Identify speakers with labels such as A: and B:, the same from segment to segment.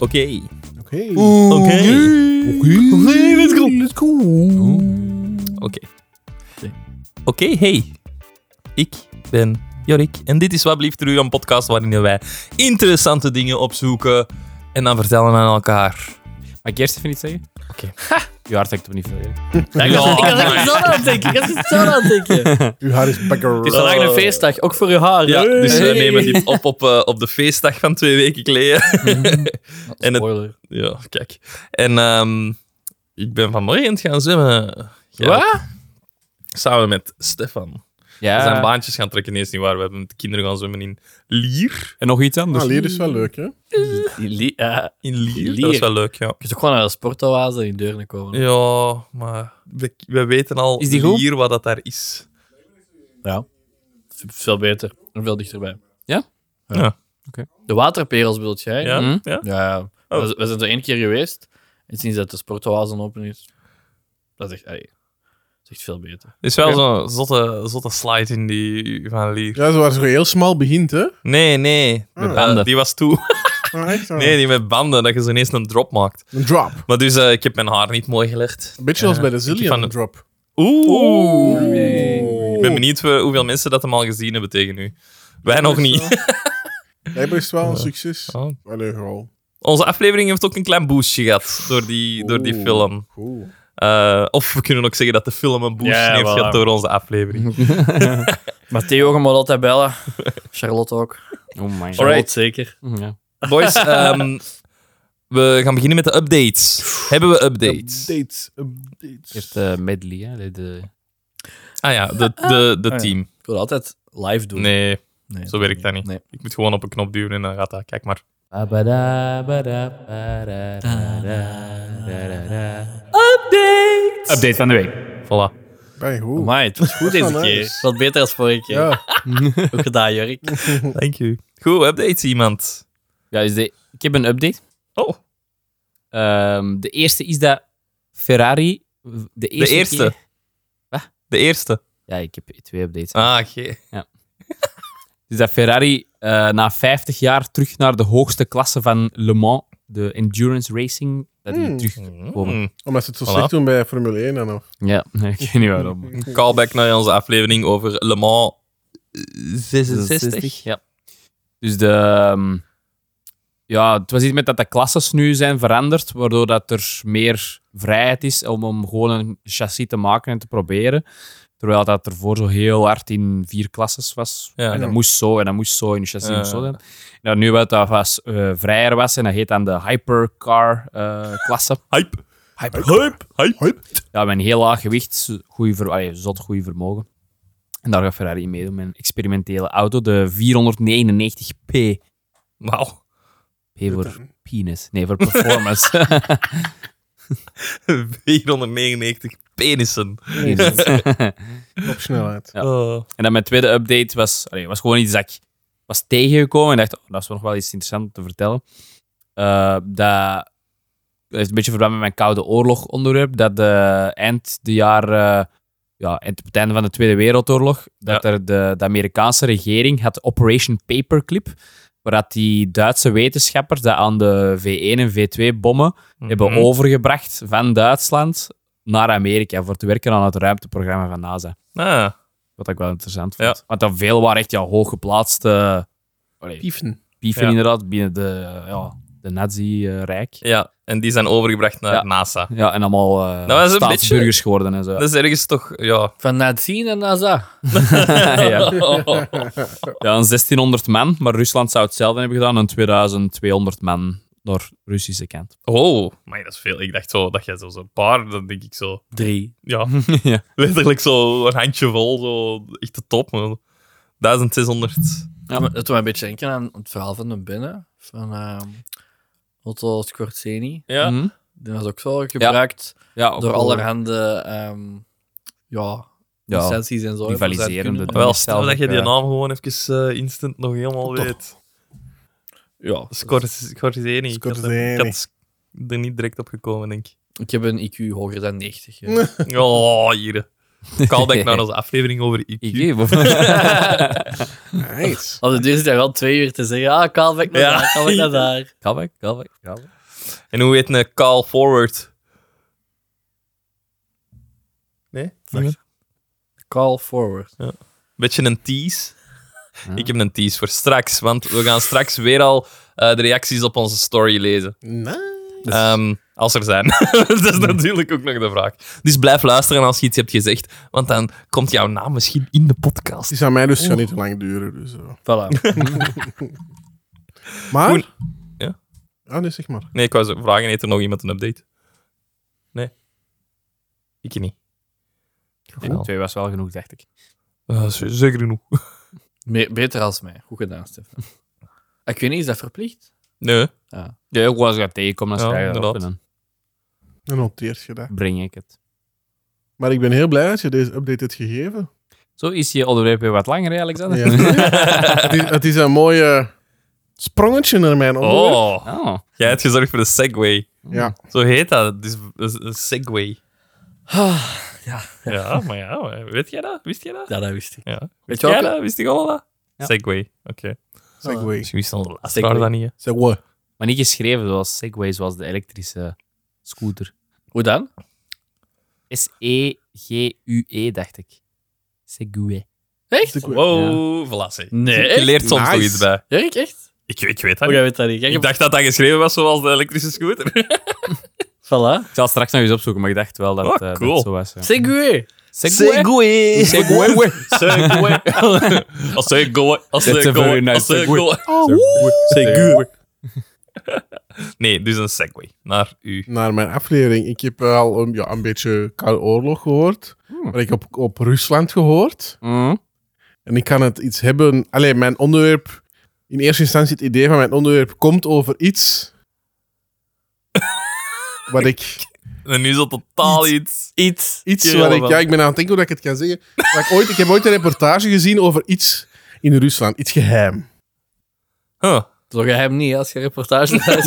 A: Okej.
B: Okej.
A: Okej.
B: Okej, let's go! Let's go!
A: Oké. Oké, hey. Ik ben Jorik en dit is Wat Blieft u een podcast waarin wij interessante dingen opzoeken en dan vertellen aan elkaar.
C: Mag ik eerst even iets zeggen?
A: Oké.
C: Je hart hangt toch niet veel. Erik?
D: Ja, ik was- ik was echt zo aan het denken. Ik was echt zo aan het denken.
B: Uw haar is bakker.
D: Het is vandaag een feestdag, ook voor je haar.
A: Ja,
D: Hey.
A: dus we nemen dit op op, eh, op de feestdag van twee weken geleden. en het-
D: Spoiler.
A: ja, kijk. En ehm, ik ben vanmorgen gaan zwemmen. Gerrit.
C: Wat?
A: Samen met Stefan. We
C: Ja.
D: Eh.
A: zijn baantjes gaan trekken, ineens niet waar. We hebben met de kinderen gaan zwemmen in Lier.
C: En nog iets anders.
A: Dus-
B: Ah, leer is wel leuk, hè?
D: Jullie, eh,
A: In Lier?
D: Lier.
A: Dat is wel leuk, ja.
D: Je kunt ook gewoon naar de sportoase in Deurne komen.
A: Ja, maar we, we weten al
D: Is die goed?
A: hier wat dat daar is.
D: Ja. Veel beter. En veel dichterbij.
C: Ja?
D: Ja.
A: Ja.
C: Oké.
D: De waterperels bedoelt jij?
A: Ja?
C: Mhm.
A: ja? Oh.
D: Ja, ja. We, we zijn er één keer geweest. En sinds dat de sportoase open is, dat is echt, allee, dat is echt veel beter.
A: is wel
C: Ja.
A: zo'n zotte, zotte slide in die van Lier.
B: Ja, zo waar zo heel smal begint, hè?
A: Nee, nee. Eh,
C: banden.
A: die was
D: Oh.
A: toe.
B: Ah, echt? Ah.
A: Nee, die met banden, dat je zo ineens een drop maakt.
B: Een drop.
A: Maar dus, eh, ik heb mijn haar niet mooi gelegd.
B: Een beetje als bij de Zillion
A: van-
B: drop.
A: Oeh. Ik
B: Ik
A: ben benieuwd eh, hoeveel mensen dat hem al gezien hebben tegen nu. Wij nog niet.
B: Jij bent wel een succes.
A: Oh.
B: Allee, gewoon.
A: Onze aflevering heeft ook een klein boostje gehad door die, door die
B: Oeh.
A: film.
B: Cool.
A: Eh, of we kunnen ook zeggen dat de film een boost
D: Ja,
A: heeft
D: voilà.
A: gehad door onze aflevering.
D: Matteo, je moet altijd bellen. Charlotte ook.
C: Oh my god. Mhm,
D: Charlotte zeker.
C: Ja.
A: Boys, ehm, we gaan beginnen met de updates. Hebben we updates?
B: Updates. Updates.
C: Eerst eh, medley, hè. De...
A: Ah ja, de, de, de
D: ja.
A: team.
D: Ik wil altijd live doen.
A: Nee,
D: Nee,
A: zo werkt dat niet.
D: Nee.
A: Ik moet gewoon op een knop duwen en dan gaat dat. Kijk maar.
C: Update van de week.
A: Voilà.
B: Bij hoe?
D: Maar het was goed deze
B: Nice.
D: keer. Wat beter als vorige keer.
B: Ja.
D: Ook gedaan, Jurk.
A: Thank you. Goed, updates iemand.
C: Ja, dus de... ik heb een update.
A: Oh,
C: Ehm, de eerste is dat Ferrari... De
A: de
C: eerste.
A: eerste.
C: keer-
A: De eerste.
C: Ja, ik heb twee updates.
A: Ah, oké.
C: Dus dat Ferrari eh, na 50 jaar terug naar de hoogste klasse van Le Mans, de endurance racing, dat die
B: Hmm.
C: terug...
A: Mm.
B: Omdat ze het zo
A: Voilà.
B: slecht doen bij Formule 1 en of.
C: Ja, ik weet niet waarom.
A: Callback naar onze aflevering over Le Mans
C: 66. Ja. Dus de... ehm, ja, het was iets met dat de klasses nu zijn veranderd, waardoor dat er meer vrijheid is om, om gewoon een chassis te maken en te proberen. Terwijl dat ervoor zo heel hard in vier klasses was.
A: Ja.
C: En dat moest zo, en dat moest zo, en je chassis
A: Ja.
C: moest zo zijn. Nou, nu wat dat was, eh, vrijer was, en dat heet dan de hypercar-klasse.
A: Hype.
C: hyper
A: Hype. Hype.
C: ja, met een heel laag gewicht, goeie ver, allee, zot goede vermogen. En daar gaat Ferrari in meedoen met een experimentele auto, de 499p.
A: Wauw.
C: P voor penis. Nee, voor performance.
A: 499 penissen.
C: Penis.
B: Op snelheid.
C: Ja.
A: Oh.
C: en dan mijn tweede update was, allee, was gewoon iets dat ik was tegengekomen en dacht, oh, dat is nog wel iets interessants om te vertellen. Eh, dat, dat heeft een beetje verband met mijn koude oorlog onderwerp, dat de, eind de jaar, eh, ja, eind op het einde van de Tweede Wereldoorlog, dat er de, de Amerikaanse regering had Operation Paperclip, waar dat die Duitse wetenschappers dat aan de V1 en V2 bommen hebben
A: Mhm.
C: overgebracht van Duitsland naar Amerika voor te werken aan het ruimteprogramma van NASA.
A: Ah.
C: Wat ik wel interessant
A: Ja.
C: vond. Want dan veel waren echt ja, hooggeplaatste allee,
B: Pieven.
C: pieven
A: Ja.
C: inderdaad binnen de, ja, de nazi-rijk.
A: Ja, en die zijn overgebracht naar
C: Ja.
A: NASA.
C: ja, en allemaal eh
A: Dat was een
C: staatsburgers
A: beetje-
C: geworden en zo.
A: Dat is ergens toch, ja.
D: Van Nazien en Naza.
C: ja. ja, een 1600 man, maar Rusland zou hetzelfde hebben gedaan, een 2200 man naar Russische kant.
A: Oh, maar dat is veel. Ik dacht zo dat jij zo zo'n paar, dan denk ik zo,
D: Drie.
A: ja,
C: ja.
A: letterlijk zo een handje vol, zo echt de top, man. 1600.
D: Ja, maar het doet mij een beetje denken aan het verhaal van de binnen. Van ehm, Otto Scorzeni.
A: Ja.
C: Mhm.
D: Die was ook zo gebruikt
C: ja ook
D: door
C: wel
D: allerhande ehm, ja,
C: Ja.
D: licenties en zo. hè, voor zijn
C: Rivaliserende
D: kunnen.
C: dingen.
A: Wel,
C: is
A: stel dat
C: zelf
A: je
C: ook,
A: die
C: ja.
A: naam gewoon even eh, instant nog helemaal
D: Toch.
A: weet.
D: Ja.
A: Scors- Scorsese. Ik had-
B: Scorsese.
A: Ik had er niet direct op gekomen, denk ik.
D: Ik heb een IQ hoger dan 90. hè.
A: Oh, hier. Callback naar onze aflevering over
C: Ik
A: IQ.
C: geef. of-
B: Nice.
D: Als het duur zit, hij wel twee uur te zeggen. Ah, Kaalwijk naar
A: Ja.
D: daar, Kaalwijk naar daar.
C: Kalbek, kalbek, kalbek.
A: En hoe heet een call forward? Nee? Niemand?
D: Call forward.
A: Beetje een tease. Ik heb een tease voor straks, want we gaan straks weer al eh, de reacties op onze story lezen.
B: Nice.
A: Ehm, als er zijn. dat is natuurlijk ook nog de vraag. Dus blijf luisteren als je iets hebt gezegd, want dan komt jouw naam misschien in de podcast.
B: Die zou mij dus gaan niet te lang duren. Dus, eh.
D: Voilà.
B: Maar...
A: Goed. Ja?
B: Ah, nee, zeg maar.
A: Nee, ik wou zo vragen, heeft er nog iemand een update? Nee? Ik niet. Goed.
C: Twee was wel genoeg, dacht ik.
A: Eh, z- zeker genoeg.
D: Me- beter als mij. Goed gedaan, Stefan. Ik weet niet, is dat verplicht?
A: Nee.
C: Ja, ook als ik dat tegenkom, dan
A: Ja,
C: schrijf je dat op en
A: inderdaad.
C: dan
B: Dan noteert je dat.
C: breng ik het.
B: Maar ik ben heel blij dat je deze update hebt gegeven.
C: Zo is je onderwerp weer wat langer, hè, Alexander?
B: Ja. het, is, het is een mooie sprongetje naar mijn onderwerp.
A: Oh,
C: Oh.
A: jij hebt gezorgd voor de segway.
B: Ja.
A: Zo heet dat. Dus een segway.
D: ja.
A: Ja, maar ja, maar weet jij dat? Wist jij dat?
D: Ja, dat wist ik.
A: Ja.
D: Weet
A: Wist
D: je
A: jij
D: ook?
A: dat? Wist ik allemaal dat?
C: Ja.
A: Segway, oké.
B: Segway.
A: Misschien wist onze luisteraar
D: Segway.
A: dat niet. hè.
B: Segway.
C: Maar niet geschreven zoals Segway, zoals de elektrische scooter. E
D: Hoe dan?
C: S-E-G-U-E, E, dacht ik. Segway.
D: Echt?
B: Segway.
A: Wow, voilà. zeg.
D: Nee,
A: Je leert soms
B: Nice.
A: nog iets bij.
D: Erik, echt?
A: Ik, ik weet dat niet.
D: Hoe Oh, jij weet dat niet? Kijk,
A: Ik dacht dat dat geschreven was zoals de elektrische scooter.
D: Voilà.
C: Ik zal het straks nog eens opzoeken, maar ik dacht wel dat,
A: Oh,
C: eh, dat
A: cool.
C: het zo was. ja.
D: Segway.
A: Segway. Segway. Segway. Als Segway. Als
C: That's a very
A: Segway.
C: nice
A: Als Segway.
C: Oh,
A: Nee, dus een Segway. Naar u.
B: Naar mijn aflevering. Ik heb al een, ja, een beetje Koude Oorlog gehoord.
A: Hmm.
B: Maar ik heb ook op Rusland gehoord.
C: Mhm.
B: En ik kan het iets hebben. Alleen mijn onderwerp. In eerste instantie het idee van mijn onderwerp komt over iets. wat ik.
A: En nu is dat totaal iets.
D: Iets.
B: Iets
A: Jawel,
B: wat ik.
A: wel.
B: Ja, ik ben aan het denken hoe dat ik het kan zeggen. Maar ik, ooit, ik heb ooit een reportage gezien over iets in Rusland. Iets geheim.
A: Huh.
D: Zo geheim niet, hè, als je reportage
B: Het,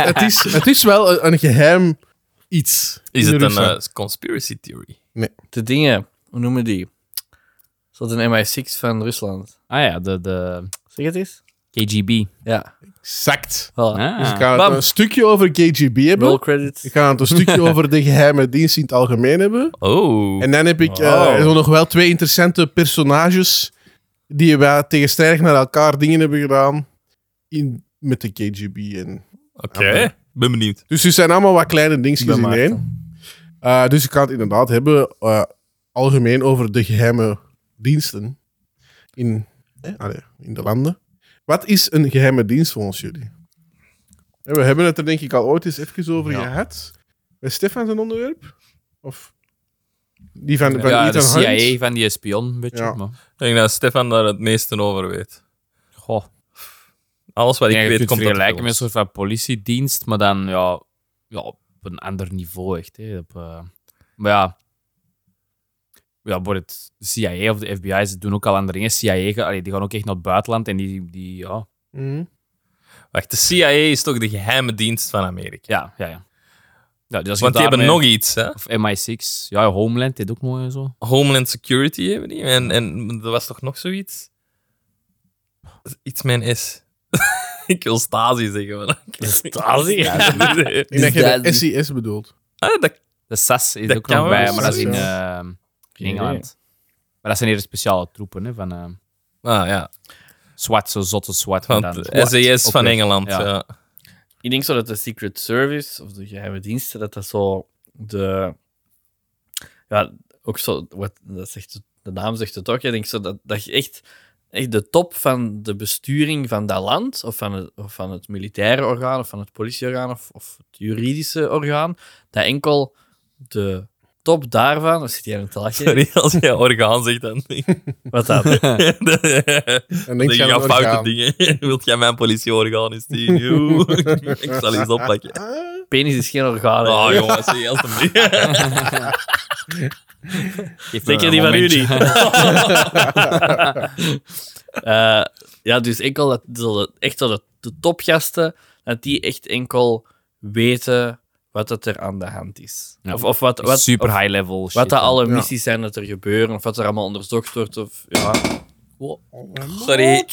B: het is, het is wel een, een geheim iets.
A: Is
B: in
A: het een
B: Rusland.
A: eh, conspiracy theory?
D: De dingen, hoe noemen die? Is dat een MI6 van Rusland?
C: Ah ja, de, de
D: Zeg het eens.
C: KGB.
D: Ja.
B: Exact.
D: Voilà.
C: Ah.
B: Dus ik ga
D: Bam.
B: het een stukje over KGB hebben.
D: Roll credits.
B: Ik ga het een stukje over de geheime dienst in het algemeen hebben.
A: Oh.
B: En dan heb ik eh,
D: Wow.
B: zo nog wel twee interessante personages die wel tegenstrijdig naar elkaar dingen hebben gedaan in, met de KGB. En...
A: Oké. Ben benieuwd.
B: Dus het zijn allemaal wat kleine dingetjes
D: Ben
B: in
D: Maarten.
B: één. Eh, dus ik kan het inderdaad hebben eh, algemeen over de geheime diensten in, eh, allee, in de landen. Wat is een geheime dienst volgens jullie? Eh, We hebben het er denk ik al ooit eens even over
A: Ja.
B: gehad. Bij Stefan zijn onderwerp? Of die van, van
C: Ja, de
B: Ethan Hunt?
C: CIA van die spion, een beetje.
B: Ja.
C: Maar,
A: Ik denk dat Stefan daar het meeste over weet.
C: goh.
A: Alles wat
C: Ik
A: ik
C: denk dat je
A: weet
C: kunt
A: komt uit
C: vergelijken met een
A: films.
C: soort van politiedienst, maar dan ja, ja, op een ander niveau echt. Hè. Op, eh, maar ja, ja voor het de CIA of de FBI, ze doen ook al andere dingen. CIA, ga- allee, die gaan ook echt naar het buitenland en die, die ja,
B: Mhm.
A: Wacht, de CIA is toch de geheime dienst van Amerika?
C: ja, ja. ja. ja dus als je
A: Want die hebben
C: daarmee-
A: nog iets, hè?
C: Of MI6, ja, Homeland, dit ook mooi en zo.
A: Homeland Security hebben die. En, en er was toch nog zoiets? Iets mijn S. ik wil Stasi zeggen, maar...
D: Stasi?
A: Nee.
B: Ik denk
D: Dus
B: dat je de
D: dat-
B: SIS bedoelt.
A: Ah, dat...
C: De SAS is
A: Dat
C: ook
A: kan
C: nog
A: wel,
C: bij, maar dat is in
B: SAS,
C: eh,
D: Geen
C: Engeland.
D: idee.
C: Maar dat zijn hier speciale troepen hè, van eh
A: ah, ja.
C: SWAT, zo zotte SWAT. maar
A: Van
C: dan-
A: de SAS
C: Oké.
A: van Engeland, ja.
C: Ja.
D: Ik denk zo dat de Secret Service of de geheime diensten, dat dat zo de. Ja, ook zo, wat, dat zegt, het- de naam zegt het ook. Ik denk zo dat, dat je echt, echt de top van de besturing van dat land, of van het, of van het militaire orgaan, of van het politieorgaan, of, of het juridische orgaan, dat enkel de top daarvan. Wat zit hier aan het lachen?
A: Sorry, als jij orgaan zegt, dan...
D: Wat dan?
B: Dan
A: Dan
B: denk je
A: denk
B: aan
A: je
B: een
A: aan foute
B: orgaan.
A: dingen. Wilt jij mijn politieorgaan eens zien? Joe. ik zal eens oppakken.
D: Ah, Penis is geen orgaan. hè.
A: Oh, jongens, zie, alsjeblieft.
C: Geef me
D: Zeker
C: een
D: die van u
C: momentje.
D: niet. Eh, ja, dus enkel dat, dat- echt dat de, de topgasten, dat die echt enkel weten wat dat er aan de hand is.
C: Ja.
D: Of, of wat, wat,
C: Super
D: of
C: high level shit.
D: wat de
C: hè.
D: alle
B: Ja.
D: missies zijn dat er gebeuren, of wat er allemaal onderzocht wordt. Of, ja.
A: Sorry.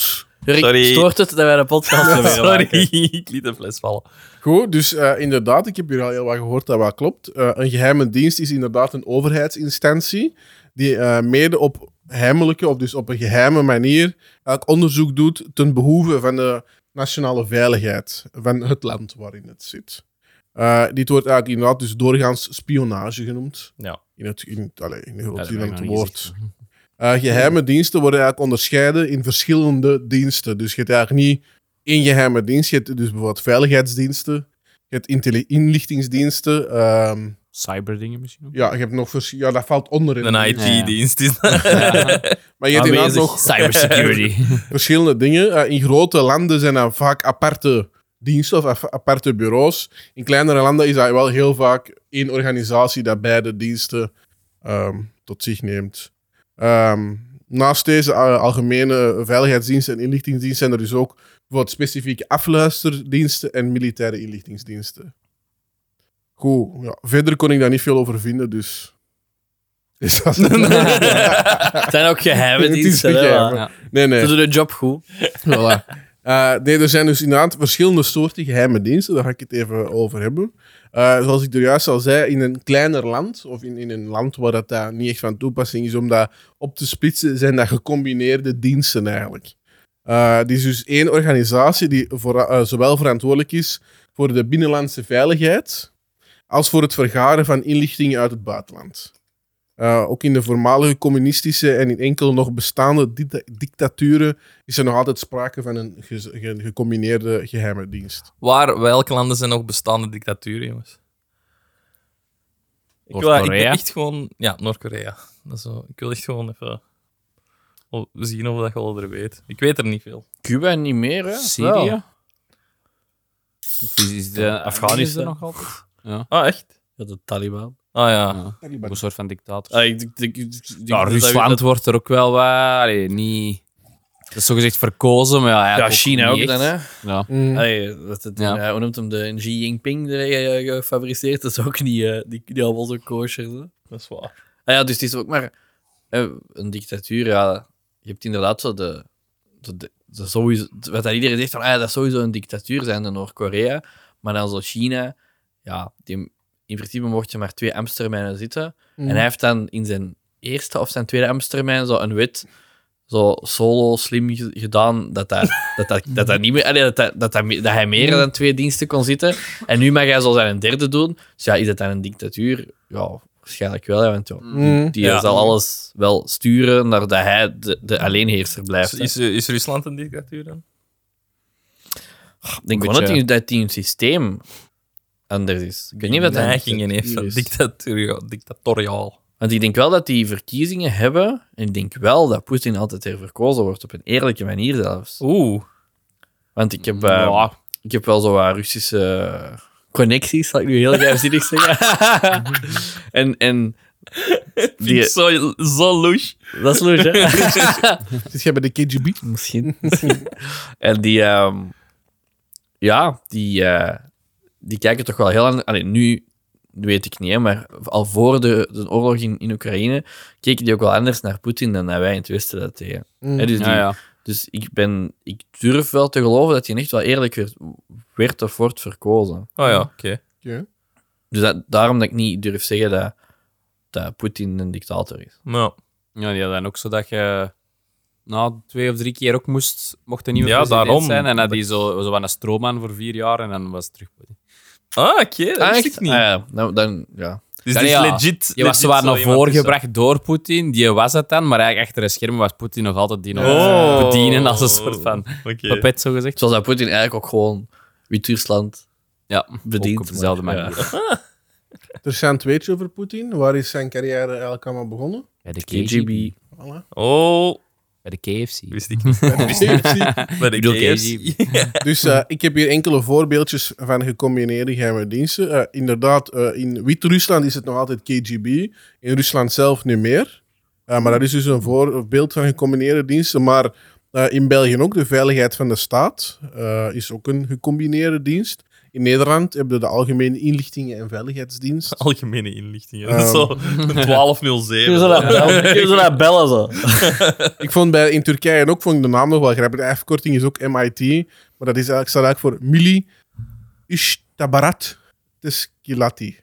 D: Rick,
A: Sorry.
D: stoort het dat wij de podcast hebben
A: Sorry, ik liet de fles vallen.
B: Goed, dus eh, inderdaad, ik heb hier al heel wat gehoord dat wat klopt. Eh, een geheime dienst is inderdaad een overheidsinstantie die eh, mede op heimelijke, of dus op een geheime manier, elk onderzoek doet ten behoeve van de nationale veiligheid van het land waarin het zit. Eh, dit wordt eigenlijk inderdaad dus doorgaans spionage genoemd.
A: Ja.
B: In het, in, allee, in de
C: Ja,
B: grote
C: dat
B: zin
C: heb
B: van
C: ik
B: het
C: nog niet
B: woord.
C: gezien.
B: Eh, geheime diensten worden eigenlijk onderscheiden in verschillende diensten. Dus je hebt eigenlijk niet één geheime dienst. Je hebt dus bijvoorbeeld veiligheidsdiensten. Je hebt intelli- inlichtingsdiensten. ehm,
C: Cyberdingen misschien ook.
B: ja, je hebt nog vers- ja, dat valt onder in.
A: Een
B: de
A: IT-dienst
B: dienst.
A: is
B: Maar
C: Ah,
B: je hebt inderdaad nog
C: Cybersecurity.
B: verschillende dingen. Eh, in grote landen zijn dat vaak aparte diensten of af- aparte bureaus. In kleinere landen is dat wel heel vaak één organisatie dat beide diensten ehm, tot zich neemt. Ehm, naast deze eh, algemene veiligheidsdiensten en inlichtingsdiensten zijn er dus ook bijvoorbeeld specifieke afluisterdiensten en militaire inlichtingsdiensten. Goed, ja, verder kon ik daar niet veel over vinden, dus. Is dat
D: Het zijn ook geheime
B: Het is
D: diensten. hè,
B: geheim.
D: maar
B: Nee, nee.
D: Ze doen hun job goed.
B: Voilà. Eh, nee, er zijn dus inderdaad verschillende soorten geheime diensten. Daar ga ik het even over hebben. Eh, zoals ik er juist al zei, in een kleiner land, of in, in een land waar dat daar niet echt van toepassing is om dat op te splitsen, zijn dat gecombineerde diensten eigenlijk. Eh er is dus één organisatie die voor, eh, zowel verantwoordelijk is voor de binnenlandse veiligheid, als voor het vergaren van inlichtingen uit het buitenland. Eh, ook in de voormalige communistische en in enkele nog bestaande dicta- dictaturen is er nog altijd sprake van een ge- ge- gecombineerde geheime dienst.
A: Waar, welke landen zijn nog bestaande dictaturen, jongens? Ik wil, ik wil
C: Noord-Korea.
A: echt gewoon... Ja, Noord-Korea. Dat is zo- Ik wil echt gewoon even o- zien of dat je al er weet. Ik weet er niet veel.
D: Cuba niet meer, hè?
C: Syrië?
D: Wel.
C: Of is, is de Afghanistan
D: Afghanistan.
C: nog altijd? Ja.
A: Ah, echt?
D: Ja, de Taliban.
A: Ah ja.
C: ja. Een soort van dictator.
D: Ah, ik, ik, ik, ik- ik-
C: Ja,
D: dat-
C: Rusland
D: dat-
C: wordt er ook wel waar. Allee, niet... Dat is zogezegd verkozen, maar ja,
D: Ja,
C: eigenlijk
D: China
C: niet
D: ook dan,
C: echt.
D: hè?
C: Ja.
D: Allee, dat het,
C: Ja.
D: ja. hoe noemt hem de een Xi Jinping die eh, gefabriceerd? Dat is ook niet, eh, die, die allemaal zo kosher. hè.
A: Dat is waar.
D: Ah ja, dus het is ook maar eh, een dictatuur. Ja, je hebt inderdaad zo de. de, de- de sowieso, wat dat iedereen zegt, van, ah, ja, dat is sowieso een dictatuur zijn, de Noord-Korea. Maar dan zo China, ja, die, in principe mocht je maar twee Amstermijnen zitten. En hij heeft dan in zijn eerste of zijn tweede Amstermijn zo een wet zo solo slim ge- gedaan dat dat, dat, dat, dat, dat niet meer, allee, dat, dat, dat, dat, me- dat hij meer dan twee diensten kon zitten. En nu mag hij zo zijn derde doen. Dus ja, is dat dan een dictatuur? Ja, waarschijnlijk wel, hè, want ja,
B: Mm.
D: die
A: Ja.
D: zal alles wel sturen naar dat hij de, de alleenheerser blijft.
A: Is, is, is Rusland een dictatuur dan?
D: ik denk wel
C: beetje-
D: dat die- dat die een systeem anders is. Ik weet niet wat hij...
A: Neigingen heeft van
B: is.
A: dictaturio- dictatoriaal.
D: Want ik denk wel dat die verkiezingen hebben. En ik denk wel dat Poetin altijd herverkozen wordt. Op een eerlijke manier zelfs.
A: Oeh.
D: Want ik heb, eh,
C: Ja.
D: ik heb wel zo wat Russische connecties, zal ik nu heel geheimzinnig zeggen. en, en
A: Vind ik
D: die,
A: zo, zo louche.
D: dat is logisch, hè?
B: Zit jij bij de KGB?
D: Misschien. en die, ehm, ja, die, eh, die kijken toch wel heel aan. Allee, nu weet ik niet, hè, maar al voor de, de oorlog in, in Oekraïne keken die ook wel anders naar Poetin dan dat wij in het Westen dat deden.
B: Mm.
D: Hè, dus, die-
C: Ja, ja.
D: dus ik, ben, ik durf wel te geloven dat hij echt wel eerlijk werd, werd of wordt verkozen.
A: Oh ja, oké.
B: Oké.
D: Dus dat, daarom dat ik niet durf zeggen dat, dat Poetin een dictator is.
A: Nou,
C: Ja, die hadden ook zo dat je na twee of drie keer ook moest, mocht een nieuwe
A: Ja,
C: president
A: daarom.
C: zijn. En dat die zo, zo aan een stroomman voor vier jaar en dan was het terug.
A: Ah, oké, dat
D: Ah,
A: wist
D: echt?
A: ik niet.
D: Ah, ja. Nou, dan, ja.
A: Dus
C: Ja,
A: dit is
C: ja.
A: legit.
C: Je was
A: legit
C: zwaar
A: zo
C: naar
A: iemand dus, eh,
C: voren
A: is, hè?
C: gebracht door Poetin, die was het dan. Maar eigenlijk achter de schermen was Poetin nog altijd die nog
A: Oh.
C: bedienen als een soort van
A: Oké.
C: papet, zo gezegd.
D: Zoals Dus dat Poetin eigenlijk ook gewoon Wit-Rusland
C: Ja,
D: bedient.
C: ook op dezelfde
D: maar-
C: manier.
D: ja.
B: Er zijn tweetje over Poetin. Waar is zijn carrière eigenlijk allemaal begonnen?
C: Bij de
D: KGB.
B: Voilà.
A: Oh,
C: Bij de KFC.
A: wist ik niet. Bij de
C: bedoel,
A: KFC.
B: dus eh, ik heb hier enkele voorbeeldjes van gecombineerde geheime diensten. Eh, inderdaad, eh, in Wit-Rusland is het nog altijd KGB. In Rusland zelf niet meer. Eh, maar dat is dus een voorbeeld van gecombineerde diensten. Maar eh, in België ook, de veiligheid van de staat eh, is ook een gecombineerde dienst. In Nederland hebben we de Algemene Inlichtingen- en Veiligheidsdienst.
A: Algemene inlichtingen.
B: Ehm.
A: Dat is zo een 1207.
D: Kun je zo naar bellen, kun je zo naar bellen zo.
B: Ik vond bij, in Turkije en ook vond ik de naam nog wel grappig. De afkorting is ook MIT, maar dat is eigenlijk, staat eigenlijk voor Mili Ishtabarat Teskilati.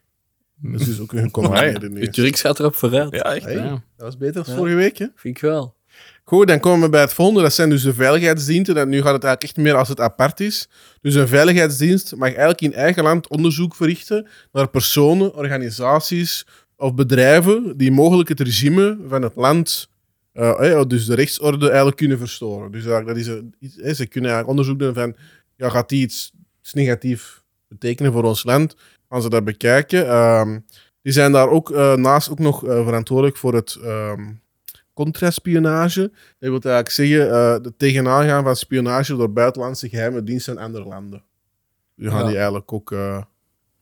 B: Dat is dus ook een
D: De
B: koningin.
D: Turk gaat erop vooruit.
A: Ja, echt.
B: Hey,
C: Ja.
B: dat was beter dan
D: Ja.
B: vorige week, hè?
D: Vind ik wel.
B: Goed, dan komen we bij het volgende. Dat zijn dus de veiligheidsdiensten. En nu gaat het eigenlijk echt meer als het apart is. Dus een veiligheidsdienst mag eigenlijk in eigen land onderzoek verrichten naar personen, organisaties of bedrijven die mogelijk het regime van het land, eh, eh, dus de rechtsorde, eigenlijk kunnen verstoren. Dus eigenlijk, dat is een, iets- eh, ze kunnen eigenlijk onderzoek doen van, ja, gaat die iets, iets negatief betekenen voor ons land? Als ze dat bekijken. Ehm, die zijn daar ook eh, naast ook nog eh, verantwoordelijk voor het... ehm, contraspionage. Dat wil eigenlijk zeggen eh het tegenaan gaan van spionage door buitenlandse geheime diensten in andere landen. Nu gaan
A: Ja.
B: die eigenlijk ook. eh,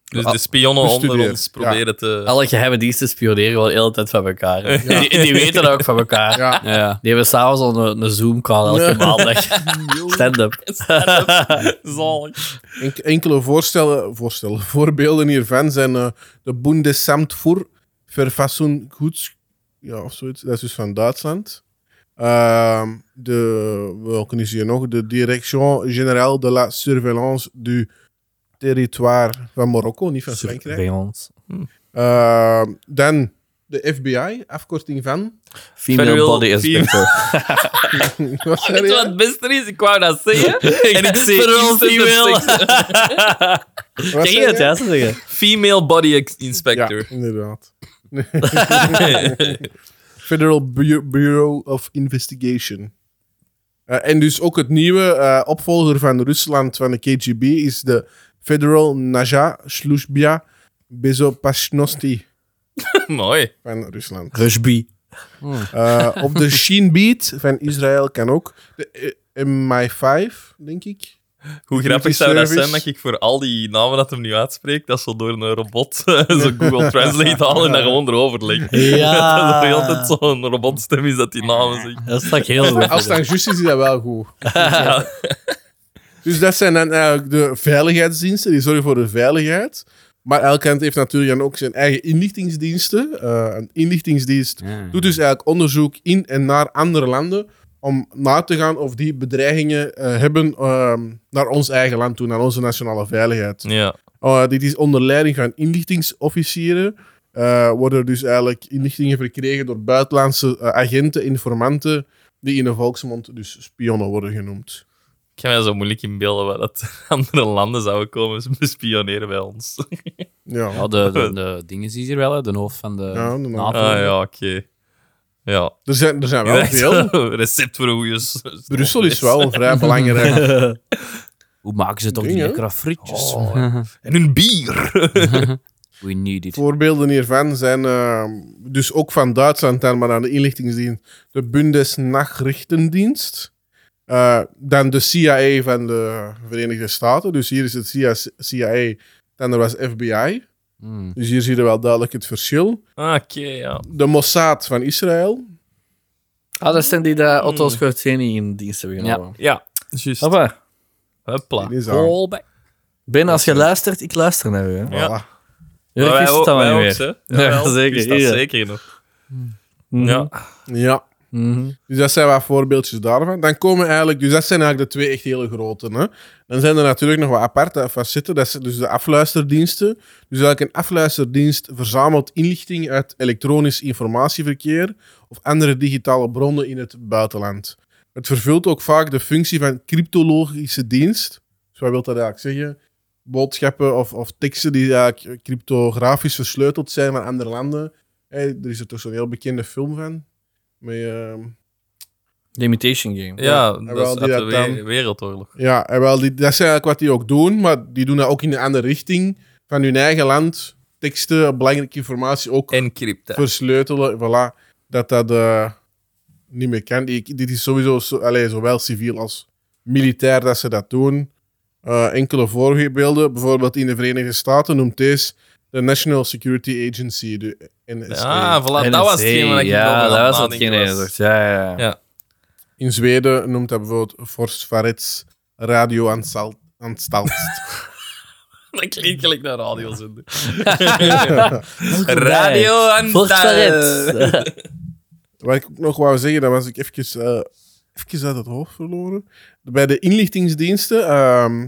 A: Dus de spionnen onder
B: Ah, Bestudeerd,
A: ons
B: ja.
A: proberen te...
D: Alle geheime diensten spioneren wel de hele tijd van elkaar. hè.
A: Ja.
D: Die, die weten dat ook van elkaar.
B: ja.
C: Ja.
D: Die hebben s'avonds al een, een Zoom-call elke maandag. Stand-up.
A: Zalig.
B: En- enkele voorstellen, voorstellen, voorbeelden hiervan zijn eh, de Bundesamt voor Verfassung Goed. Ja, of zoiets. Dat is dus van Duitsland. Ehm, de, welke is hier nog? De Direction Générale de la Surveillance du Territoire van Marokko, niet van Frankrijk.
D: Surveillance.
B: Ehm, dan de FBI, afkorting van.
D: Female
A: Federal
D: body
A: fem-
D: inspector.
B: Wat zei
A: Weet je wat
B: je?
A: het beste is? Ik wou dat zeggen. en ik zei
D: Federal
A: instant
D: female.
A: dat seks-
B: Wat zei
D: Zeg je het
B: je?
D: juist zeggen?
A: Female body ex-
B: Ja,
A: inspector.
B: inderdaad. Federal Bu- Bureau of Investigation. Eh, en dus ook het nieuwe eh, opvolger van Rusland van de KGB is de Federal Naja Slushbia Bezopashnosti
A: Mooi.
B: van Rusland.
D: Rushby.
B: Eh, op de Shin Beat van Israël kan ook. De eh, MI5, denk ik.
A: Hoe grappig
B: Community
A: zou dat
B: service.
A: zijn dat ik voor al die namen dat hem nu uitspreekt, dat zo door een robot eh, zo Google Translate halen en daar gewoon erover leggen.
D: Ja.
A: Dat er altijd zo'n robotstem is dat die namen zegt.
D: Dat stak heel goed.
B: Als het dan juist is, is dat wel goed.
A: Ja.
B: Dus dat zijn dan eigenlijk de veiligheidsdiensten, die zorgen voor de veiligheid. Maar elk land heeft natuurlijk dan ook zijn eigen inlichtingsdiensten. Eh, een inlichtingsdienst doet dus eigenlijk onderzoek in en naar andere landen om na te gaan of die bedreigingen eh, hebben ehm, naar ons eigen land toe, naar onze nationale veiligheid.
A: ja.
B: Oh, dit is onder leiding van inlichtingsofficieren. eh, worden dus eigenlijk inlichtingen verkregen door buitenlandse eh, agenten, informanten, die in de volksmond dus spionnen worden genoemd.
A: Ik kan mij zo moeilijk inbeelden waar dat andere landen zouden komen bespioneren bij ons.
B: Ja.
C: Ja, de, de, de dingen zie je hier wel, hè. de hoofd van de
B: Ja, de
C: NAVO.
A: Ah ja, oké. Ja.
B: Er zijn, er zijn wel
A: Echt,
B: veel.
A: recept voor een goede... s-
B: Brussel is wel een vrij belangrijk.
C: Hoe maken ze toch die
B: Dingen.
C: lekkere frietjes?
B: Oh.
A: En hun bier.
C: We need it.
B: Voorbeelden hiervan zijn eh, dus ook van Duitsland, dan maar aan de inlichtingsdienst, de Bundesnachrichtendienst. eh, dan de CIA van de Verenigde Staten. Dus hier is het CIA, CIA dan er was FBI.
C: Mm.
B: Dus hier zie je wel duidelijk het verschil.
A: Ah, Oké, ja.
B: De Mossad van Israël.
D: Ah, dat zijn die dat
A: Hmm.
D: Otto Schorzeni in Oh, dienst hebben genomen.
A: Ja, juist.
D: Papa,
A: Hopla.
B: Die is aan.
C: All back.
D: Ben, als je luistert, ik luister naar u.
A: Ja.
B: Voilà.
A: Maar
D: Ja, ik
A: wij
D: wist
A: ook-
D: het dan
A: wij
D: wel
A: ook,
D: niet meer.
A: hè. Jawel,
D: Ja, zeker, Mhm.
A: ik wist dat
D: ja.
A: zeker nog. Ja.
B: Ja.
D: Mhm.
B: Dus dat zijn wat voorbeeldjes daarvan. Dan komen eigenlijk, dus dat zijn eigenlijk de twee echt hele grote. Hè? Dan zijn er natuurlijk nog wat aparte facetten. Dat zijn dus de afluisterdiensten. Dus eigenlijk een afluisterdienst verzamelt inlichting uit elektronisch informatieverkeer of andere digitale bronnen in het buitenland. Het vervult ook vaak de functie van cryptologische dienst. Dus wat wil dat eigenlijk zeggen? Boodschappen of, of teksten die eigenlijk cryptografisch versleuteld zijn van andere landen. Hé, er is er toch zo'n heel bekende film van. Met, ehm,
D: The Imitation Game.
A: Ja,
B: en
A: dat
B: wel
A: is
B: die
A: uit de
B: dat dan-
A: we- wereldoorlog.
B: Ja, en wel, die, dat is eigenlijk wat die ook doen, maar die doen dat ook in een andere richting. Van hun eigen land, teksten, belangrijke informatie ook
A: En crypta.
B: versleutelen. Voilà, dat dat eh, niet meer kan. Die- dit is sowieso, zo, allee, zowel civiel als militair dat ze dat doen. Eh, enkele voorbeelden, bijvoorbeeld in de Verenigde Staten noemt deze de National Security Agency, de NSA.
A: Ah, voilà, dat was hetgeen waar ik over
D: Ja,
A: aan
D: dat was
A: het nadenken
D: hetgeen.
A: was.
D: dat- Ja, ja, ja.
B: In Zweden noemt dat bijvoorbeeld Forsvarets radioanstalt.
A: Dat klinkt gelijk naar radiozender.
D: Radio
A: Radio en
D: Volksverret.
B: Wat ik ook nog wou zeggen, dat was ik eventjes, eh, eventjes uit het hoofd verloren. Bij de inlichtingsdiensten ehm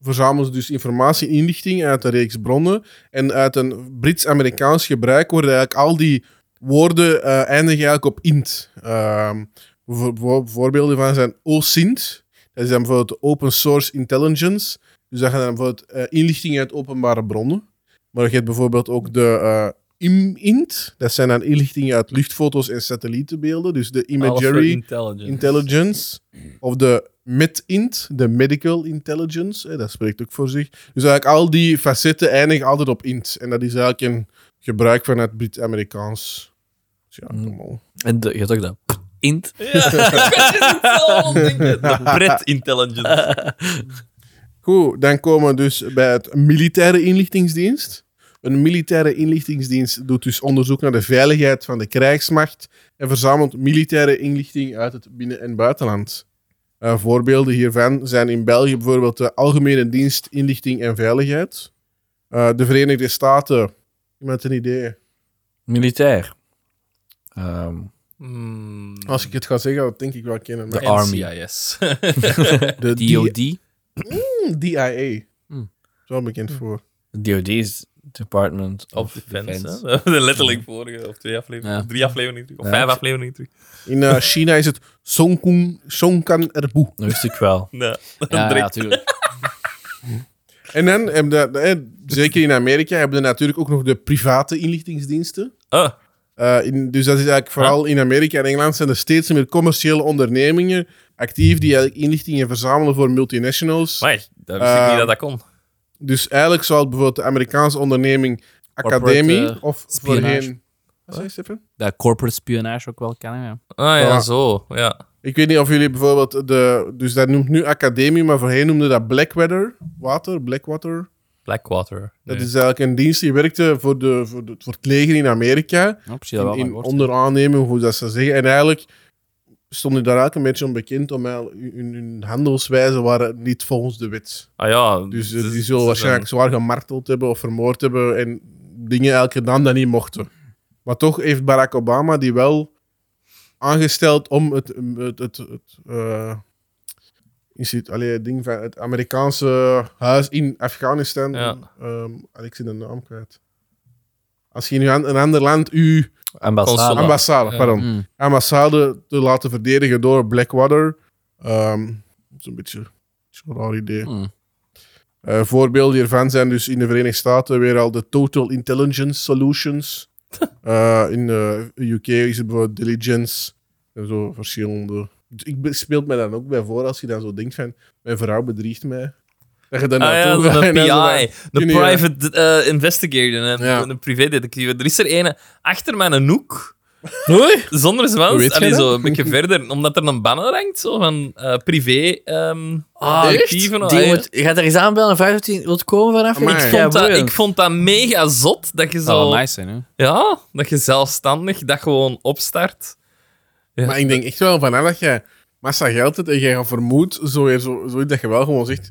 B: verzamelen ze dus informatie en inlichting uit een reeks bronnen. En uit een Brits-Amerikaans gebruik worden eigenlijk al die woorden eh, eindigen eigenlijk op int. Ehm, voor- voor- voorbeelden van zijn OSINT. Dat is dan bijvoorbeeld Open Source Intelligence. Dus dat gaat dan bijvoorbeeld eh, inlichting uit openbare bronnen. Maar je hebt bijvoorbeeld ook de eh, IM-INT. Dat zijn dan inlichtingen uit luchtfoto's en satellietenbeelden. Dus de Imagery
A: Intelligence.
B: Intelligence. Of de MedInt, de Medical Intelligence. hè, dat spreekt ook voor zich. Dus eigenlijk al die facetten eindigen altijd op int. En dat is eigenlijk een gebruik van het Brit-Amerikaans. Dus ja,
D: Mm.
B: kom al.
D: En
A: eh,
D: de, je hebt ook dat. Int.
A: Ja, De Brit Intelligence.
B: Goed, dan komen we dus bij het militaire inlichtingsdienst. Een militaire inlichtingsdienst doet dus onderzoek naar de veiligheid van de krijgsmacht en verzamelt militaire inlichting uit het binnen- en buitenland. Eh, voorbeelden hiervan zijn in België bijvoorbeeld de Algemene Dienst Inlichting en Veiligheid. Eh, de Verenigde Staten, iemand een idee?
D: Militair. Ehm,
A: Hmm.
B: Als ik het ga zeggen, dat denk ik wel kennen. maar-
A: De Army. yes.
B: De DIA.
C: DOD.
B: DIA.
C: Hmm.
B: Is wel bekend voor.
D: DOD is Department of,
A: Of
D: Defense.
A: Defense. hè. De Letterlijk vorige, of twee afleveringen,
C: Ja.
A: of drie afleveringen terug, of
D: Ja.
A: vijf afleveringen terug.
B: In eh, China is het Songkun, Songkan Erbu.
D: Dat wist ik wel.
A: Nee.
C: Ja,
A: Drie.
C: ja, tuurlijk.
B: En dan, hebben de, de- eh, zeker in Amerika, hebben we natuurlijk ook nog de private inlichtingsdiensten.
A: Ah,
B: Eh, in, dus dat is eigenlijk vooral in Amerika en Engeland zijn er steeds meer commerciële ondernemingen actief die eigenlijk inlichtingen verzamelen voor multinationals.
A: maar dat wist ik
B: Ehm,
A: niet dat dat kon.
B: Dus eigenlijk zou het bijvoorbeeld de Amerikaanse onderneming
D: Corporate,
B: Academie
D: eh,
B: of
C: spionage.
B: voorheen... Wat zei je, Stefan?
C: Dat corporate spionage ook wel kennen, ja.
A: Ah ja,
B: voilà.
A: zo. Ja.
B: Ik weet niet of jullie bijvoorbeeld de... Dus dat noemt nu Academie, maar voorheen noemde dat Blackwater. Water, Blackwater.
A: Blackwater.
B: Dat
A: Nee.
B: is eigenlijk een dienst die werkte voor, de, voor, de, voor het leger in Amerika.
C: Ja, precies, dat wel
B: in,
C: van
B: in
C: gehoord.
B: onder aannemen, hoe dat ze zeggen. En eigenlijk stond hij daar eigenlijk een beetje onbekend om. eigenlijk Hun, hun- hun handelswijzen waren niet volgens de wet.
A: Ah ja.
B: Dus eh,
A: ze- ze
B: die zullen
A: zijn-
B: waarschijnlijk zwaar gemarteld hebben of vermoord hebben en dingen eigenlijk gedaan dat niet mochten. Maar toch heeft Barack Obama die wel aangesteld om het, het, het, het, eh, instituut- allee, het ding van het Amerikaanse huis in Afghanistan.
A: Ja.
B: ehm, en ik zie de naam kwijt. Als je in een ander land uw
A: Consulat.
D: Ambassade.
B: ambassade,
A: Ja.
B: pardon.
C: Mm.
B: Ambassade te laten verdedigen door Blackwater. Ehm, dat is een beetje, dat is een raar idee.
C: Mm.
B: Eh, voorbeelden hiervan zijn dus in de Verenigde Staten weer al de Total Intelligence Solutions. Eh, in de UK is het bijvoorbeeld Diligence. En zo verschillende. Dus Ik be- speelt mij dan ook bij voor als je dan zo denkt van... Mijn vrouw bedriegt mij. Dat je dan
A: Ah ja,
B: naartoe gaat
A: zo'n
B: en dan zo van-
A: PI. De
B: Junior.
A: private eh, investigator. En
B: Ja.
A: Een privédetective. Er is er een achter mijn hoek.
B: Oei.
A: Zonder
B: Hoe
A: zwans.
B: weet
A: Allee,
B: jij dat?
A: zo een beetje verder. Omdat er een banner hangt zo van eh, privé. ehm
B: Ah,
A: archieven. Ah,
D: Die
A: Allee,
D: moet, je gaat er eens aanbellen en vraagt of hij wilt komen vanaf.
B: Amai.
D: Ik
A: Ik
D: ga
A: vond, dat,
D: boeien.
A: ik vond dat mega zot dat
B: Ah,
A: je
C: Dat zou
A: zo.
C: wel nice zijn, hè?
A: Ja, dat je zelfstandig dat gewoon opstart.
B: Maar ik denk echt wel van hè, dat je massa geld hebt en jij gaat vermoed, zo, weer zo, zoiets dat je wel gewoon zegt,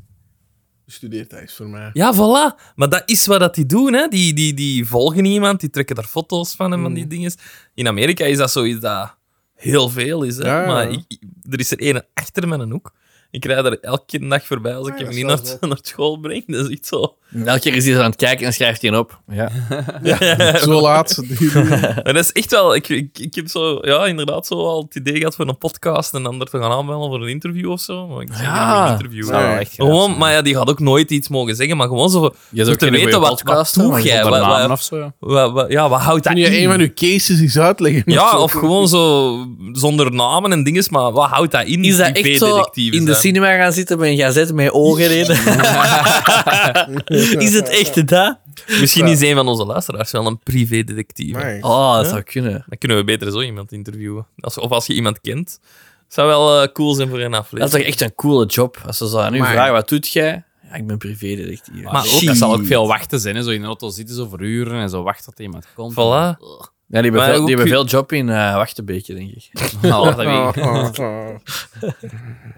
B: studeer thuis voor mij.
A: Ja, voilà. Maar dat is wat dat die doen. Hè. Die, die, die volgen iemand, die trekken daar foto's van en van
B: Mm.
A: die dingen. In Amerika is dat zoiets dat heel veel is. Hè.
B: Ja, ja.
A: Maar ik- ik- er is er één achter met een hoek. Ik rijd er elke dag voorbij als ik
B: Ah,
A: hem
B: dat
A: niet
B: is
A: naar,
B: wel zo.
A: naar school breng. Dat is echt zo.
D: Elke keer is hij er aan het kijken en schrijft hij op. Ja.
B: Zo laat.
A: Maar dat is echt wel... Ik, ik, ik heb zo, ja, inderdaad zo al het idee gehad voor een podcast en ander te gaan aanbellen voor een interview of zo. Maar ik zeg,
D: Ja.
A: ik ga niet interviewen.
B: Nee.
C: wel echt graag
A: Gewoon,
C: zijn.
A: maar ja, die had ook nooit iets mogen zeggen, maar gewoon zo...
D: Je
A: Om
D: zou
A: te weten wat, wat doe jij? Wat,
C: Zonder namen
A: wat-
C: of zo, ja.
A: wat- wat- ja, wat houdt dat
B: Kun je
A: in?
B: een van uw cases eens uitleggen?
A: Ja, of gewoon zo zonder namen en dinges, maar wat houdt dat in?
D: Is dat
A: die
D: echt zo
A: V-detectieven
D: in de
A: zijn?
D: cinema gaan zitten met een gazette met ogen in? is het echt dat?
A: Misschien is een van onze luisteraars wel een privédetectief. hè.
B: Amai.
D: Oh, dat zou kunnen.
A: Dan kunnen we beter zo iemand interviewen. Als, of als je iemand kent. Zou wel eh, cool zijn voor een
D: Dat is
A: aflevering.
D: toch echt een coole job. Als ze zo aan u
B: Maar-
D: vragen, wat doet jij? Ja, ik ben privédetectief.
A: Ah,
C: Maar ook,
B: shit.
C: dat zal ook veel wachten zijn, hè? Zo in de auto zitten, zo voor uren en zo wachten tot iemand komt.
A: Voilà.
D: Ja, die hebben,
A: Maar
D: veel, die
A: ook-
D: hebben veel job in eh Wachtenbeekje, denk Nou, ik.
B: Ah, ah, ah.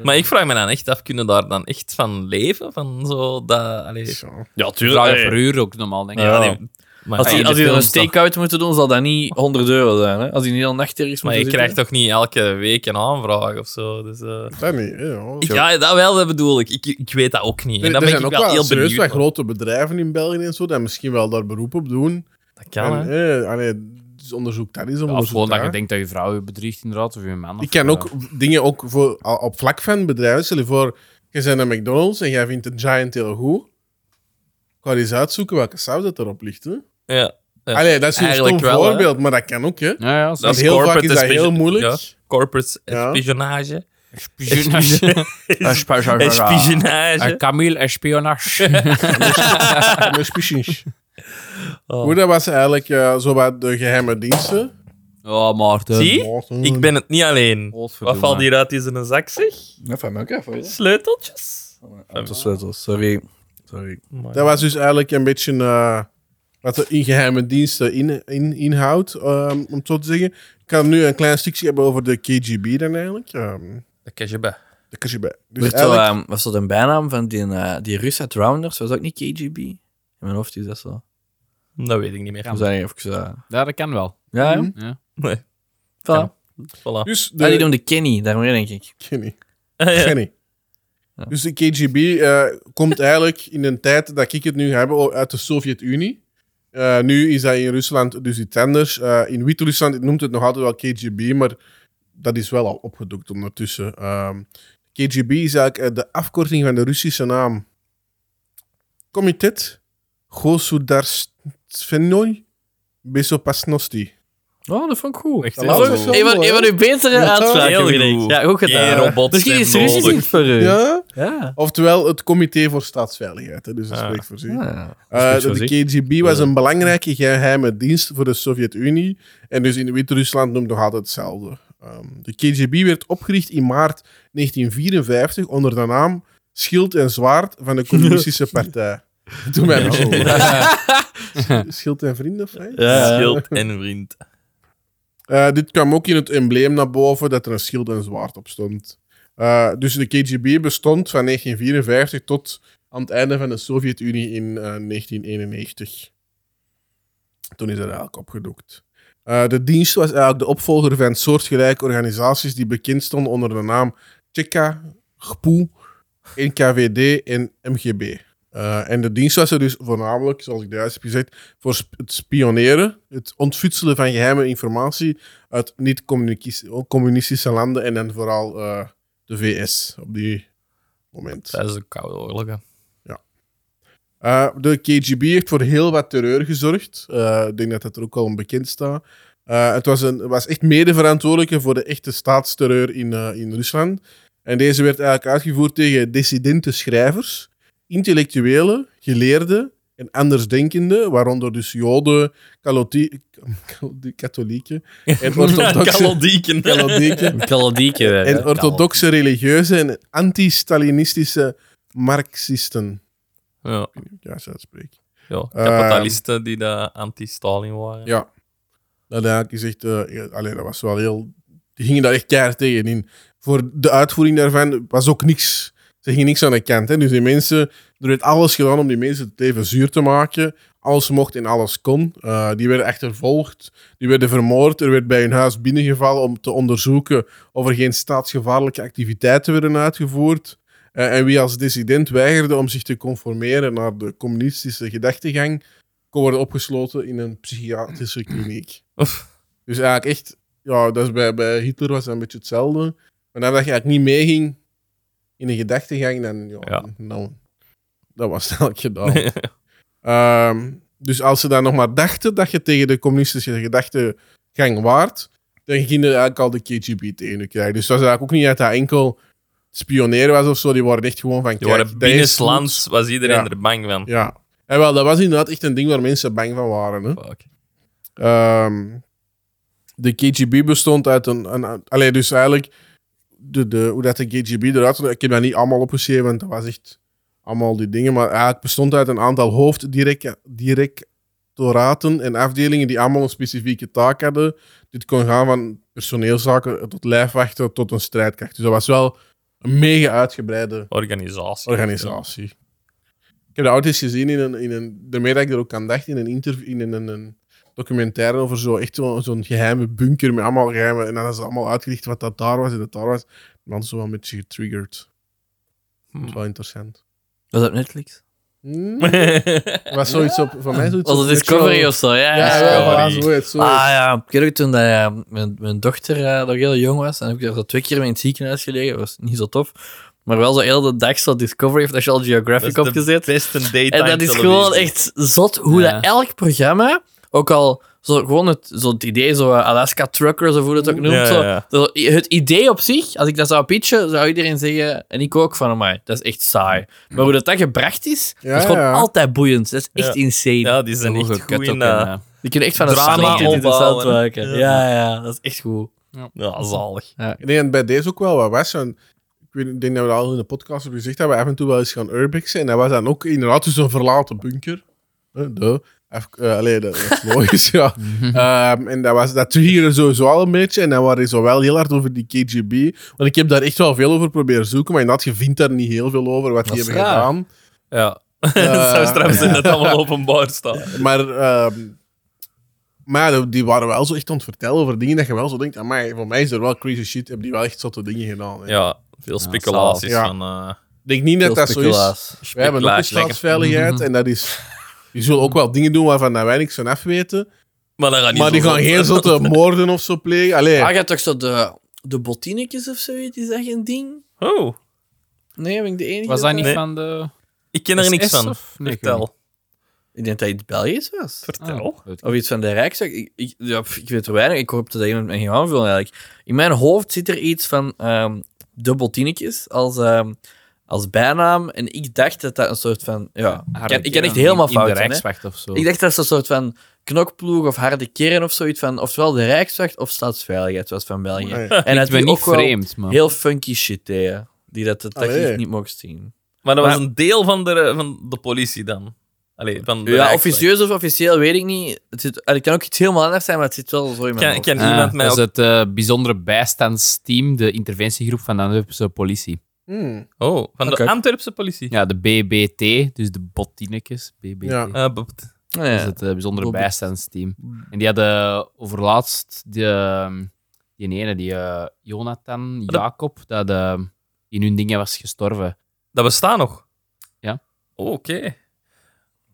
A: Maar ik vraag me dan echt af, kunnen daar dan echt van leven? Van zo dat... Allee,
B: Zo.
D: Ja,
C: Vragen per uur ook normaal, denk ik.
D: Ja.
A: nee, maar
D: Als die,
A: in de
D: als die er een
A: Ah, films toch-
D: stakeout moeten doen, zal dat niet 100 euro zijn. Hè? Als die niet al nacht ergens
A: Maar
D: moeten
A: je krijgt
D: zitten.
A: toch niet elke week een aanvraag of zo? Dus, eh,
B: Dat niet, hè, joh.
A: ik- ja, dat wel, dat bedoel ik. Ik, ik weet dat ook niet. En
B: Er-
A: dan ben
B: er zijn
A: ik
B: ook
A: wel heel
B: serieus
A: benieuwd.
B: wat
A: naar.
B: grote bedrijven in België en zo, dat misschien wel daar beroep op doen.
A: Dat kan,
B: en,
A: hè.
B: eh, allee, dus onderzoek dat is,
C: Of
B: onderzoek
C: gewoon dat
B: daar.
C: je denkt dat je vrouw je bedriegt, inderdaad, of je man. of-
B: Ik ken
C: ja.
B: ook dingen ook voor, al- op vlak van bedrijven. Stel je voor, je bent naar McDonald's en jij vindt een Giant heel goed. Ga eens uitzoeken welke saus dat erop ligt. Hè?
A: Ja. Ja.
B: Allee, dat is een
A: Eigenlijk
B: stom
A: wel, hè.
B: voorbeeld, maar dat kan ook. Hè?
C: Ja, ja. zo-
B: Want heel vaak is dat
A: espionage-
B: heel moeilijk.
A: ja, corporate
B: Ja.
A: espionage.
D: Een spiegel.
C: Eh,
A: Espionage.
C: Camille Espionage.
B: En een species.
A: Oh.
B: Hoe dat was eigenlijk eh zo wat de geheime diensten.
C: oh, Maarten.
A: Zie? Ik ben het niet alleen. Wat
C: Godverdomme.
A: valt hier uit in zijn zak, zeg?
D: Ja, van mij ook even.
A: Dus Sleuteltjes?
D: Sorry. Sorry.
B: Dat was dus eigenlijk een beetje eh, wat er in geheime diensten in, in, inhoudt, ehm, om het zo te zeggen. Ik kan nu een klein stukje hebben over de KGB dan eigenlijk. ehm,
A: Dat kan je bij.
B: de KGB. Dus
D: Werd zo,
B: eigenlijk-
D: ehm, was dat een bijnaam van die, eh, die Rus uit Rounders? Was dat ook niet KGB? In mijn hoofd is dat zo.
A: Dat weet ik niet meer.
D: We zijn even zo.
C: Ja, dat kan wel.
D: Ja, ja.
B: Mhm.
C: Ja.
A: Nee.
D: Voilà.
A: Ja. Voilà.
B: dus de,
D: Ah, die doen de Kenny, daarmee denk ik.
B: Kenny.
A: Ja.
B: Kenny. Dus de KGB eh, komt eigenlijk in een tijd dat ik het nu heb o- uit de Sovjet-Unie. Eh, nu is dat in Rusland dus iets anders. Eh, in Wit-Rusland noemt het nog altijd wel KGB, maar dat is wel al opgedoekt ondertussen. Ehm, KGB is eigenlijk eh, de afkorting van de Russische naam Komitet Gosudarstvenoy Besopasnosti.
D: Oh, dat vond ik goed.
A: Echt,
B: Dat
A: hè?
B: laatste
A: Zo-
B: wel
D: Een van,
B: mooi,
D: een van
B: hè?
D: uw betere
B: Ja,
D: uitspraken.
A: heel
D: vind ik.
A: goed.
D: Ja, goed
A: Geen
D: gedaan.
A: robots
D: Misschien is
A: zijn
D: Russisch
A: nodig.
D: niet voor u.
B: Ja?
D: Ja.
B: Oftewel het Comité voor Staatsveiligheid. Hè, dus dat
A: Ah.
B: spreekt voor zich.
D: Ja.
B: Eh,
D: Dat is goed
B: de
D: zo,
B: KGB was een belangrijke geheime dienst voor de Sovjet-Unie. En dus in Wit-Rusland noemt nog altijd hetzelfde. Ehm, de KGB werd opgericht in maart 1954 onder de naam Schild en Zwaard van de Communistische Partij. Doe mij een beetje- Schild en Vrienden, of wat?
D: Ja.
A: Schild en vriend.
B: Eh, dit kwam ook in het embleem naar boven dat er een schild en een zwaard op stond. Eh, dus de KGB bestond van 1954 tot aan het einde van de Sovjet-Unie in eh, 1991. Toen is dat eigenlijk opgedoekt. Eh, de dienst was eigenlijk de opvolger van soortgelijke organisaties die bekend stonden onder de naam Cheka, GPU, NKVD en MGB. Eh, en de dienst was er dus voornamelijk, zoals ik juist heb gezegd, voor sp- het spioneren, het ontfutselen van geheime informatie uit niet-communistische landen en dan vooral eh, de VS op die moment.
A: Dat is een koude oorlog. hè.
B: Eh, de KGB heeft voor heel wat terreur gezorgd. Eh, ik denk dat dat er ook al een bekend staat. Eh, het was, een, was echt medeverantwoordelijke voor de echte staatsterreur in, eh, in Rusland. En deze werd eigenlijk uitgevoerd tegen dissidente schrijvers, intellectuelen, geleerden en andersdenkenden, waaronder dus Joden, kaloti- katholieken en orthodoxe,
A: Kalodieken.
B: kalodieken
D: Kaladieke.
B: en orthodoxe religieuze en anti-Stalinistische Marxisten.
A: Ja.
B: Ik weet niet of ik juist uitspreek.
A: Ja, kapitalisten die de anti-Stalin waren.
B: Ja. Dat eigenlijk is echt, eh, ja, allee, dat was wel heel. Die gingen daar echt keihard tegen in. Voor de uitvoering daarvan was ook niks. Ze gingen niks aan de kant. Hè? Dus die mensen, er werd alles gedaan om die mensen het leven zuur te maken. Alles mocht en alles kon. Eh, die werden achtervolgd, die werden vermoord. Er werd bij hun huis binnengevallen om te onderzoeken of er geen staatsgevaarlijke activiteiten werden uitgevoerd. Eh, en wie als dissident weigerde om zich te conformeren naar de communistische gedachtegang, kon worden opgesloten in een psychiatrische kliniek.
A: Oef.
B: Dus eigenlijk echt, ja, dat is bij, bij Hitler was dat een beetje hetzelfde. Maar nadat je eigenlijk niet meeging in de gedachtegang, dan, ja,
A: Ja.
B: nou, dat was het eigenlijk gedaan. Ehm, dus als ze dan nog maar dachten dat je tegen de communistische gedachtegang waart, dan gingen eigenlijk al de KGB tegen je krijgen. Dus dat is eigenlijk ook niet dat dat enkel spioneren was of zo. Die waren echt gewoon van,
A: Die
B: kijk,
A: waren
B: dat is
A: binnenlands, was iedereen
B: Ja.
A: er bang van.
B: goed. Ja. En wel, dat was inderdaad echt een ding waar mensen bang van waren. Hè.
A: Fuck.
B: Ehm, de KGB bestond uit een... een allee, dus eigenlijk, de, de, hoe dat de KGB eruit zag, ik heb dat niet allemaal opgeschreven, want dat was echt allemaal die dingen, maar eigenlijk bestond uit een aantal hoofddirectoraten directoraten en afdelingen die allemaal een specifieke taak hadden. Dit kon gaan van personeelszaken tot lijfwachten tot een strijdkracht. Dus dat was wel een mega uitgebreide
A: Organisatie.
B: organisatie. Ik heb dat ooit eens gezien in een, in een daarmee dat ik er ook aan dacht, in een interview, in een, een- een documentaire over zo, echt zo, zo'n geheime bunker met allemaal geheimen. En dan is allemaal uitgelicht wat dat daar was en dat daar was. Man, zo wel een beetje getriggerd. Dat
D: Hmm.
B: is wel interessant.
D: Was dat Netflix?
B: Hmm.
A: Ja.
B: Er was zoiets op, van mij zoiets
D: Was
B: op
D: het Discovery
B: Metro.
D: of zo?
B: Ja,
D: Ja,
B: ja, ja,
A: Discovery.
B: ja, zoiets, zoiets.
D: Ah ja, ik weet ook toen dat, eh, mijn, mijn dochter eh, nog heel jong was, en heb ik daar zo twee keer mee in het ziekenhuis gelegen, dat was niet zo tof. Maar wel zo heel de dag zo Discovery of National Geographic
A: Dat is de
D: opgezet.
A: beste daytime
D: En dat is
A: televisie.
D: gewoon echt zot hoe
C: Ja.
D: dat elk programma, ook al zo, gewoon het, zo het idee, zo eh, Alaska Truckers of hoe dat ook noemt,
A: Ja, ja,
D: zo,
A: ja.
D: zo, i- het idee op zich, als ik dat zou pitchen, zou iedereen zeggen, en ik ook, van mij, dat is echt saai. Maar hoe dat, dat gebracht is,
B: Ja,
D: dat is gewoon
B: ja.
D: altijd boeiend. Dat is echt
A: Ja.
D: insane.
A: Ja, die zijn echt goed in... eh,
D: Die kunnen echt van een
A: Drama
D: drama interessant
A: opbouwen.
D: maken.
A: Ja.
D: Ja. ja, dat is echt goed.
A: Ja, zalig.
B: Ik denk dat bij deze ook wel wat was. En ik, weet, ik denk dat we dat al in de podcast hebben gezegd, dat we af en toe wel eens gaan urbexen. En dat was dan ook inderdaad dus een verlaten bunker. Eh, Duh. Even- eh, allee, dat, dat is logisch, ja. Ehm, en dat, was, dat triggerde sowieso al een beetje. En dan waren ze wel heel hard over die KGB. Want ik heb daar echt wel veel over proberen zoeken. Maar inderdaad, je vindt daar niet heel veel over wat die
D: is
B: hebben
D: raar.
B: gedaan.
A: Ja. Het zou straf zijn dat het allemaal openbaar staat.
B: Maar, ehm, maar ja, die waren wel zo echt aan het vertellen over dingen dat je wel zo denkt. Amai, voor mij is er wel crazy shit. Hebben die wel echt zotte dingen gedaan. hè.
A: Ja, veel speculaties
B: zalig.
A: van... eh,
B: Ik denk niet dat dat zo is. We hebben ook een
A: Speculaas, lekker.
B: staatsveiligheid en dat is... Die zullen ook wel dingen doen waarvan dat wij niks van afweten.
A: Maar, dat gaat niet
B: Maar die
A: zo
B: gaan
A: zijn.
B: geen zotte moorden of zo plegen. Allee,
D: Ah, je hebt toch zo de, de botinetjes of zoiets? Is dat geen ding?
A: Oh,
D: Nee, ben ik de enige?
C: Was dat niet
A: Nee.
C: van de...
A: ik ken er niks
C: SS
A: van.
C: of- Nee, ik weet
B: Ah.
A: Vertel.
D: Ik denk dat hij iets Belgisch was.
A: Vertel.
C: Ah, weet ik.
D: Of iets van de Rijksdag. Ik, ik, ja, pff, ik weet er weinig. Ik hoop dat iemand me ging aanvullen eigenlijk. In mijn hoofd zit er iets van ehm de botinetjes als, ehm, als bijnaam. En ik dacht dat dat een soort van... Ja, ik kan, ik kan echt helemaal
C: in, in
D: fout
C: de
D: zijn, hè.
C: Rijkswacht of zo.
D: Ik dacht dat ze een soort van knokploeg of harde keren of zoiets van, ofwel de Rijkswacht of Staatsveiligheid was van België.
B: Nee.
D: En dat
C: ik ben
D: die
C: niet
D: ook wel
C: vreemd, man.
D: heel funky shit deden, die dat de
B: Allee.
D: techniek niet mocht zien.
A: Maar dat was
D: Maar-
A: een deel van de, van de politie dan. Allee, van de
D: Ja,
A: Rijkswacht.
D: officieus of officieel weet ik niet. Het, zit, en het kan ook iets helemaal anders zijn, maar het zit wel zo in mijn
A: Kan,
D: hoofd.
A: kan
C: Ah,
A: iemand mij ook...
C: dat is het eh, bijzondere bijstandsteam, de interventiegroep van de Antwerpse politie.
B: hmm.
A: Oh, van
D: Oké.
A: de Antwerpse politie.
C: Ja, de BBT, dus de bottinekes. BBT.
B: Ja.
A: Eh, bopt.
D: Ja.
C: Dat is het eh, bijzondere
D: Bobbit.
C: bijstandsteam. En die hadden overlaatst die, ehm, die ene, die eh, Jonathan
A: dat-
C: Jacob, dat eh, in hun dingen was gestorven.
A: dat bestaat nog.
C: Ja.
A: Oh, Oké.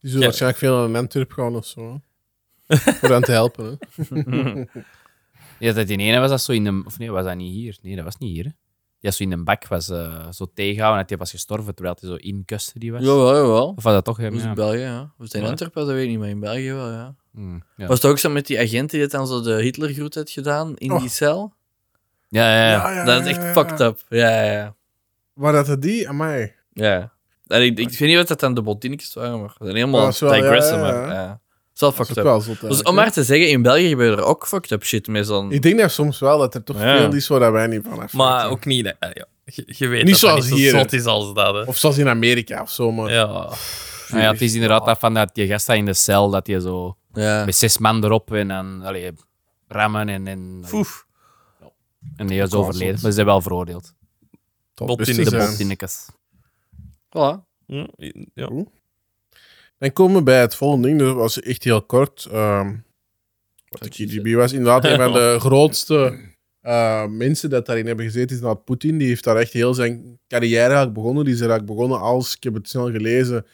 B: Die zullen
A: Ja.
B: waarschijnlijk veel aan een Antwerp gaan of zo. Voor hen te helpen. Hè.
C: Ja, dat die ene was dat zo in een... Of nee, was dat niet hier? Nee, dat was niet hier. Hè. Die was zo in een bak, was eh, zo tegenhouden en die was gestorven terwijl hij zo in custody was.
D: Jawel, jawel.
C: Of was dat toch hem?
D: Dat is
C: Ja.
D: in België, ja. We zijn in
C: Ja.
D: Antwerpen, dat weet ik niet, maar in België wel, ja.
C: Hmm, ja.
D: Was het ook zo met die agent die dat dan zo de Hitlergroet had gedaan in
B: Oh.
D: die cel?
C: Ja, ja, ja.
D: dat is echt fucked up. Ja, ja, ja.
B: Waar dat het die? Amai.
D: Ja. En ik, ik weet niet wat dat dan de botinetjes waren, maar we zijn helemaal
B: Ja,
D: aan
B: dat
D: het
B: is wel-
D: digressen,
B: ja, ja, ja.
D: maar ja. Het is wel
B: Dat is
D: fucked
B: ook
D: up.
B: wel zot
D: Dus
B: eigenlijk,
D: om
B: hè.
D: maar te zeggen, in België gebeurt er ook fucked up shit met zo'n...
B: Ik denk dat soms wel dat er toch
D: Ja.
B: veel is waar dat wij niet van afweten.
A: Maar ook niet... eh, ja. je, je weet
B: Niet
A: dat dat
B: zoals
A: niet
B: hier,
A: zo
B: hè.
A: zot is als dat. Hè.
B: Of zoals in Amerika of zo. Maar...
A: Ja.
C: Nou ja, het is inderdaad dat van dat je gast dat in de cel, dat je zo
D: Ja.
C: met zes man erop en dan allee, rammen en, en,
A: Foef.
C: en die is
B: wel
C: overleden.
B: zot.
C: Maar ze zijn wel veroordeeld.
B: Tot
A: Bot in
B: rustig
A: de
C: De
B: zijn.
C: bottinnekes.
D: Voilà.
A: Hm, Ja.
B: Dan komen we bij het volgende ding. Dat was echt heel kort. ehm, wat de KGB was inderdaad een van de grootste eh, mensen dat daarin hebben gezeten. Is inderdaad Poetin. Die heeft daar echt heel zijn carrière eigenlijk begonnen. Die is er eigenlijk begonnen als, ik heb het snel gelezen,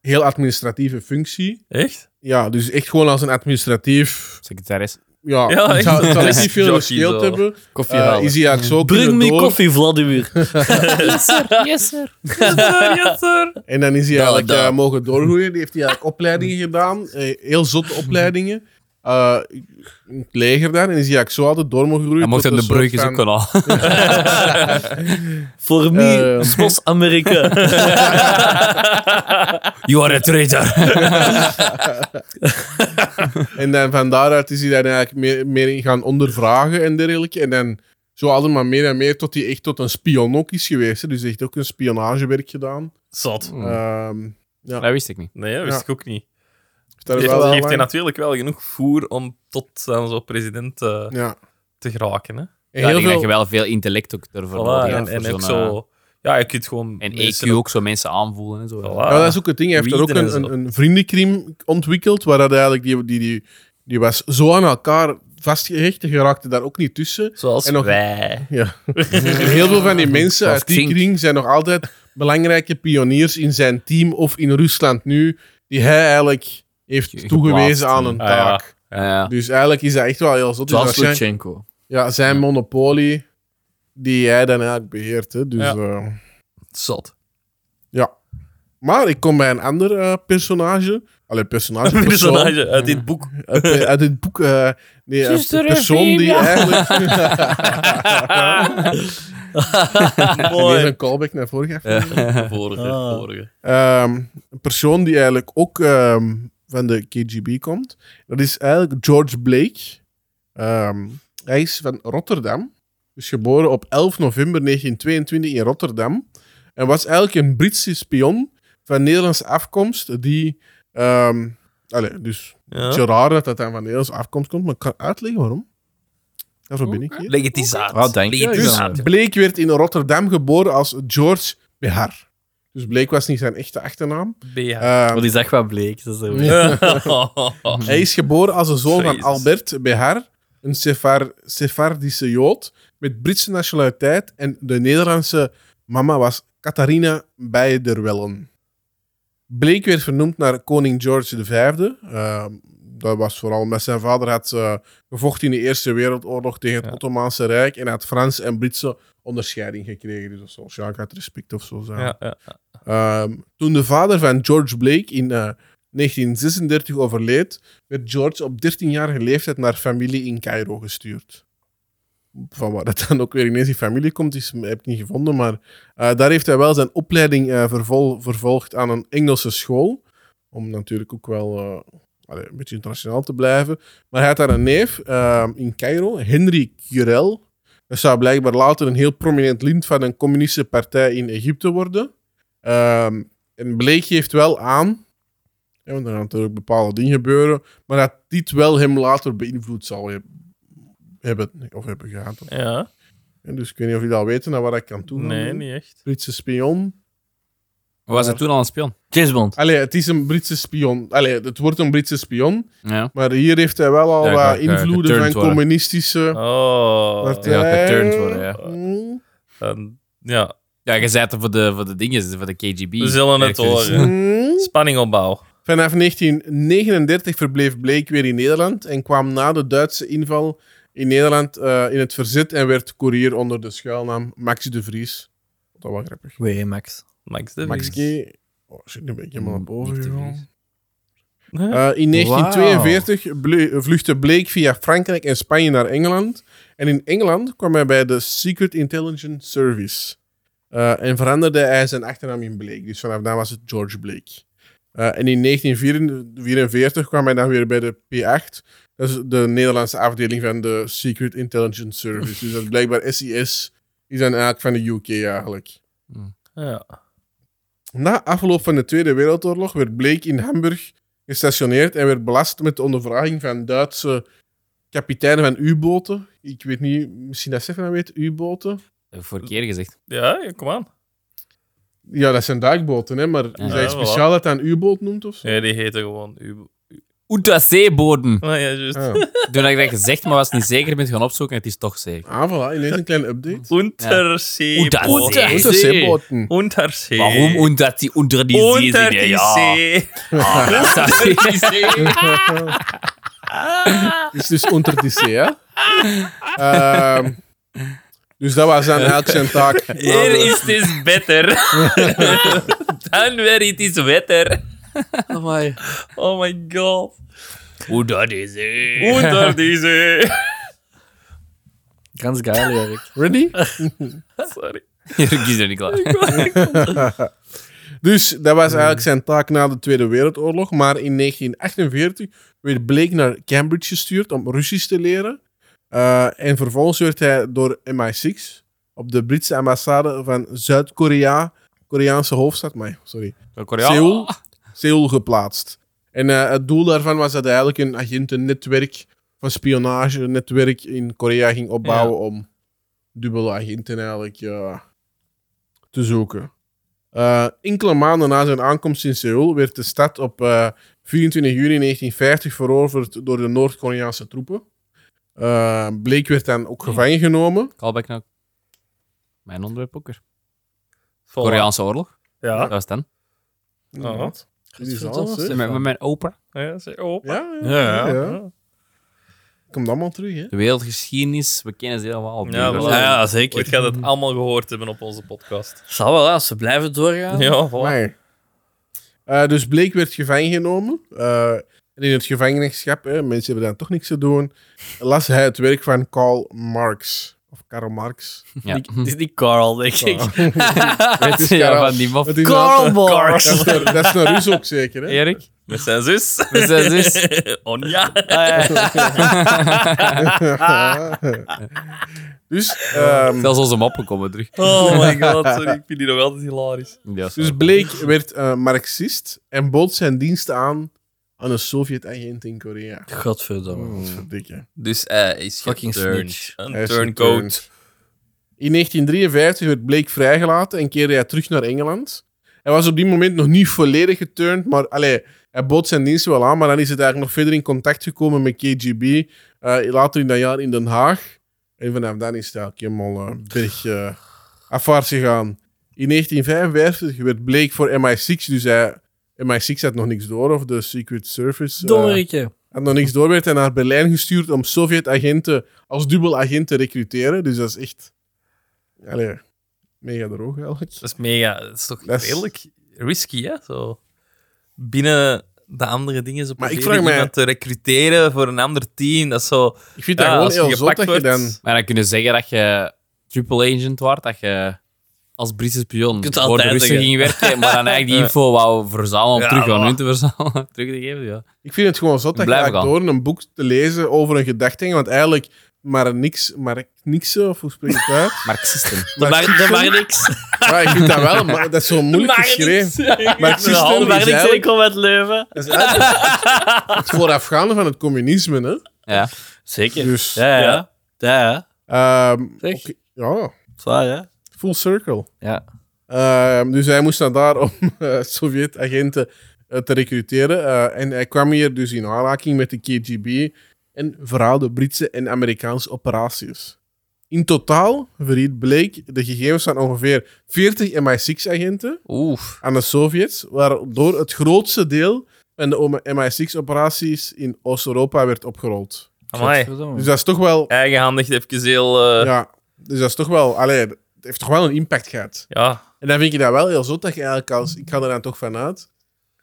B: heel administratieve functie.
A: Echt?
B: Ja, dus echt gewoon als een administratief...
C: Secretaris.
B: Ja,
A: Ja,
B: het zou, het zou echt niet veel
A: Jockey
B: gescheeld
A: zo.
B: hebben.
D: Koffie
B: Eh,
D: halen.
B: is hij eigenlijk zo kunnen door.
D: Vladimir.
C: Yes, sir.
A: yes, sir.
B: En dan is hij
D: Da,
C: Nou,
B: eigenlijk
D: da.
B: eh, mogen doorgroeien. Die heeft hij eigenlijk opleidingen gedaan. eh, heel zotte
C: Mhm.
B: opleidingen. Eh, in het leger dan. En is hij eigenlijk zo altijd door mogen groeien.
C: Hij mocht
B: tot
C: hem de
B: een soort
C: brugjes ook
B: van-
C: wel al.
D: Voor
B: me, Eh.
D: Spos Amerika.
C: You are a traitor.
B: En dan van daaruit is hij dan eigenlijk meer, meer in gaan ondervragen en dergelijke. En dan zo altijd maar meer en meer tot hij echt tot een spion ook is geweest. hè. Dus hij heeft ook een spionagewerk gedaan.
A: Zot.
C: Hmm.
B: Ehm,
C: Dat wist ik niet.
A: Nee, dat wist
B: Ja.
A: ik ook niet.
B: Daar
A: Geeft,
B: wel
A: geeft hij
B: lang-
A: natuurlijk wel genoeg voer om tot aan zo'n president eh,
B: Ja.
A: te geraken. Hè?
B: En
C: Ja, ik
B: heel
C: denk dat
B: veel,
C: je wel veel intellect ook ervoor
A: Voilà,
C: nodig
A: en
C: hebt.
A: en
C: voor
A: ook
C: zo'n, eh, E
A: zo... Ja, je kunt gewoon...
C: En
A: mensen
C: EQ ook zo mensen aanvoelen en zo.
A: Voilà.
B: ja, dat is ook het ding. Hij heeft er ook
A: Weeden en
B: een,
A: zo.
B: een, een vriendencrime ontwikkeld, waar dat eigenlijk die, die, die, die was zo aan elkaar vastgehecht, die geraakte daar ook niet tussen.
A: Zoals
B: en nog-
A: wij.
B: Ja. En heel veel van die mensen
C: Zoals
B: uit die
C: Xing.
B: kring zijn nog altijd belangrijke pioniers in zijn team of in Rusland nu, die hij eigenlijk heeft
C: Ge-
B: toegewezen
C: geplaatst,
B: aan een
A: ah, ja.
B: taak.
C: Ja, ja.
B: Dus eigenlijk is dat echt wel heel zot. Dus
D: Zoals
B: waarschijnlijk-
D: Lutsenko.
B: ja, zijn monopolie die jij dan eigenlijk beheert. Hè. Dus,
A: Ja.
B: eh,
A: Zot.
B: ja. Maar ik kom bij een ander eh, personage. Allee, personage.
A: Een
B: persoon.
A: personage uit dit boek.
B: Uit, eh, uit het boek. eh nee, een
C: Zuster
B: persoon die
C: Euphemia.
B: eigenlijk. Even
A: Mooi.
B: een callback naar vorige aflevering.
A: Vorige,
D: Ah.
A: vorige.
B: Ehm, een persoon die eigenlijk ook ehm, van de KGB komt. Dat is eigenlijk George Blake. Ehm, hij is van Rotterdam. Is geboren op 11 november 1922 in Rotterdam. En was eigenlijk een Britse spion van Nederlandse afkomst. Die. ehm allee, dus
A: Ja.
B: het is raar dat dat dan van Nederlandse afkomst komt. Maar ik kan uitleggen waarom. Daarvoor ben ik hier. Dus
A: Leg het eens uit.
D: Ah, dank je.
A: Leg het eens
D: Ja.
A: uit.
B: Blake werd in Rotterdam geboren als George Behar. Dus Blake was niet zijn echte achternaam.
A: BH.
B: Ehm,
D: Want die zag wat bleek. Dat is zo.
B: Ja. Hij is geboren als een zoon van
A: Jezus.
B: Albert Behar, een Sefar Sefardische Jood met Britse nationaliteit. En de Nederlandse mama was Catharina Beiderwellen. Blake werd vernoemd naar koning George V. Ehm, dat was vooral omdat zijn vader had eh, gevochten in de Eerste Wereldoorlog tegen het
A: Ja.
B: Ottomaanse Rijk en had Frans en Britse onderscheiding gekregen. Dus dat zal waarschijnlijk uit respect of zo zijn.
A: Ja, ja.
B: Ehm, toen de vader van George Blake in eh, 1936 overleed, werd George op 13-jarige leeftijd naar familie in Cairo gestuurd. Van waar dat dan ook weer ineens die familie komt, is, heb ik niet gevonden. Maar eh, daar heeft hij wel zijn opleiding eh, vervol- vervolgd aan een Engelse school. Om natuurlijk ook wel eh, allee, een beetje internationaal te blijven. Maar hij had daar een neef ehm, in Cairo, Henry Curel. Dat zou blijkbaar later een heel prominent lid van een communistische partij in Egypte worden. Ehm, en Blake geeft wel aan, ja, want er gaan natuurlijk bepaalde dingen gebeuren, maar dat dit wel hem later beïnvloed zal heb- hebben of hebben gehad.
A: ja.
B: En dus ik weet niet of jullie dat weten naar waar ik kan toe.
A: Nee, niet echt.
B: Britse spion.
C: Was hij toen al een spion?
D: James Bond.
B: Allee, het is een Britse spion. Allee, het wordt een Britse spion,
C: Ja.
B: maar hier heeft hij wel al
C: Ja,
B: wat
C: ik wou, eh,
B: invloeden van
C: geturnd worden.
B: communistische
A: Oh.
B: partijen.
C: ja, geturnd worden, ja.
B: Mm,
A: En- ja,
C: Ja, je zei het voor de, voor de dingen, voor de KGB.
A: we zullen het horen.
B: mm.
A: Spanning opbouwen.
B: Vanaf 1939 verbleef Blake weer in Nederland en kwam na de Duitse inval in Nederland eh, in het verzet en werd koerier onder de schuilnaam Max de Vries. Dat was grappig.
D: Wee, Max.
A: Max de
B: Max
A: Vries.
B: G. Oh shit, nu ben ik helemaal naar boven
C: Niet te
B: gegaan.
C: vrezen.
A: Huh?
B: Eh, in 1942 ble- vluchtte Blake via Frankrijk en Spanje naar Engeland. En in Engeland kwam hij bij de Secret Intelligence Service. Eh, en veranderde hij zijn achternaam in Blake. Dus vanaf dan was het George Blake. Eh, en in 1944 kwam hij dan weer bij de P8. Dat is de Nederlandse afdeling van de Secret Intelligence Service. dus dat is blijkbaar SIS. Die zijn eigenlijk van de UK eigenlijk.
A: Ja.
B: Na afloop van de Tweede Wereldoorlog werd Blake in Hamburg gestationeerd en werd belast met de ondervraging van Duitse kapiteinen van U-boten. Ik weet niet, misschien dat Stefan dat weet, U-boten.
C: Dat heb ik vorige keer gezegd.
A: Ja, ja, kom aan.
B: Ja, dat zijn duikboten, hè, maar is
A: Ja,
B: dat iets speciaal dat hij een U-boot noemt of zo?
A: Nee, die heette gewoon U.
C: Oeta zeeboden.
A: Ah, ja, juist.
B: Ah,
C: Toen had ik dat gezegd, maar was niet zeker, ben ik gaan opzoeken en het is toch zeker.
B: ah voilà, ineens een kleine update.
A: Untersee.
C: Unter-
A: Untersee.
C: Unter-
B: Grote zeeboten.
A: Untersee.
C: Waarom? Omdat die onder die zee
A: Unter
C: zitten,
A: die
C: Ja.
A: Zee.
C: Ah, dat is-
B: is dus onder die zee, hè? Ehm, dus dat was dan eigenlijk zijn taak. Na
A: Hier
B: de-
A: is het beter. Dan weer het is wetter.
D: Amai.
A: Oh my god.
C: Oeta die zee.
A: Onder deze.
D: Ganz geil, Erik.
B: Ready?
A: Sorry.
C: Jurk is er niet klaar.
B: Dus dat was eigenlijk zijn taak na de Tweede Wereldoorlog. Maar in 1948 werd Blake naar Cambridge gestuurd om Russisch te leren. Eh, en vervolgens werd hij door MI6 op de Britse ambassade van Zuid-Korea, Koreaanse hoofdstad, maar sorry,
C: Korea.
B: Seoul, Seoul geplaatst. En eh, het doel daarvan was dat hij eigenlijk een agentennetwerk van spionage, een netwerk in Korea ging opbouwen om dubbele agenten eigenlijk ja, te zoeken. Eh, enkele maanden na zijn aankomst in Seoul werd de stad op eh, 24 juni 1950 veroverd door de Noord-Koreaanse troepen. Eh, Blake werd dan ook gevangen genomen.
C: Callback naar mijn onderwerp poker.
A: Voilà.
C: Koreaanse oorlog.
D: Ja.
C: Dat was dan.
D: Oh.
A: Inderdaad.
B: Dit is alles, hè.
C: Met, met mijn opa.
A: Ja, zeg, oh.
B: Ja, ja,
D: Ja, ja.
B: Komt allemaal terug, hè?
C: De wereldgeschiedenis, we kennen ze helemaal.
A: Ja,
C: Burgers.
A: voilà.
D: ja,
A: Ooit
D: zeker.
A: gaat het allemaal gehoord hebben op onze podcast.
D: Zal wel, als ze blijven doorgaan.
A: Ja, voilà.
B: Maar, eh, dus Blake werd gevangen genomen. eh, en in het gevangenschap, hè, mensen hebben dan toch niks te doen, las hij het werk van Karl Marx. Of Karl Marx.
C: Ja.
D: Het is niet Carl, denk ik.
C: Het is ja, van die mof.
B: Het is
D: Karl
B: inderdaad-
D: Marx.
B: Dat is naar- dat is naar Rus ook zeker, hè?
C: Erik?
A: Met zijn zus.
C: Met zijn zus.
A: Onja.
B: dus, ehm,
C: Zelfs onze mappen komen terug.
A: Oh my god, sorry, ik vind die nog altijd hilarisch.
C: Ja, is
B: dus
C: waar.
B: Blake werd eh, Marxist en bood zijn diensten aan aan een Sovjet-agent in Korea. Hmm.
D: Godverdomme.
B: Dikke.
A: Dus hij is
D: Fucking
A: geturned.
D: snitch.
A: Een
B: Hij is
A: turncoat.
B: geturned. In 1953 werd Blake vrijgelaten en keerde hij terug naar Engeland. Hij was op die moment nog niet volledig geturnd, maar allee, hij bood zijn diensten wel aan. Maar dan is het eigenlijk nog verder in contact gekomen met KGB. eh, later in dat jaar in Den Haag. En vanaf dan is het eigenlijk helemaal eh, berg eh, afwaarts gegaan. In 1955 werd Blake voor MI6, dus hij, MI6 had nog niks door, of de Secret Service. eh,
D: Donnerikje.
B: en nog niks door werd hij naar Berlijn gestuurd om Sovjet-agenten als dubbelagent te recruteren. Dus dat is echt. Allee, mega droog eigenlijk.
A: Dat is mega. Dat is toch
B: Dat is-
A: redelijk risky, hè? Zo. Binnen de andere dingen. Zo
B: Maar ik
A: proberen
B: vraag mij-
A: iemand te recruteren voor een ander team. Dat is zo.
B: Ik vind
A: Ja,
B: dat
A: als je
B: gewoon heel zot
A: gepakt
B: dat je
A: wordt-
B: dan.
C: Maar dan kun je zeggen dat je triple agent wordt, dat je als Britse spion
D: Kunt
C: voor de
D: altijd
C: Russen
D: zeggen.
C: ging werken, maar dan eigenlijk die info wou verzamelen om
A: Ja,
C: terug aan
A: voilà.
C: hun te verzamelen, terug te geven. Ja.
B: Ik vind het gewoon zot dat je
C: Blijven
B: eigenlijk door een boek te lezen over een gedachtegang. Want eigenlijk, maar niks, maar niks, of hoe spreek je het uit?
C: Marxisten.
D: De
B: Maar-
D: Mar- de Marnix.
B: Ja, ik vind dat wel, maar dat is zo moeilijk geschreven.
D: De
B: Marxisten is
D: Marnix
B: eigenlijk-
D: enkel met Leuven.
B: Dat is eigenlijk het voorafgaande van het communisme, hè?
C: Ja.
D: Zeker.
B: Dus,
D: Ja, ja. Ja, ja.
B: ehm,
D: Zeg.
B: oké, ja,
D: Zwaar, ja.
B: full circle.
D: Ja.
B: Ehm, dus hij moest naar daar om eh, Sovjet-agenten eh, te recruteren. Eh, en hij kwam hier dus in aanraking met de KGB en verhaalde Britse en Amerikaanse operaties. In totaal verriet Blake de gegevens van ongeveer 40 MI6-agenten
A: Oef.
B: aan de Sovjets, waardoor het grootste deel van de MI6-operaties in Oost-Europa werd opgerold.
A: Amai.
B: Dus dat is toch wel...
A: Eh. Eigenhandig even heel. eh, ja.
B: Ja, dus dat is toch wel... Allee, het heeft toch wel een impact gehad. En dan vind ik dat wel heel zot dat je eigenlijk als... Ik ga er dan toch vanuit,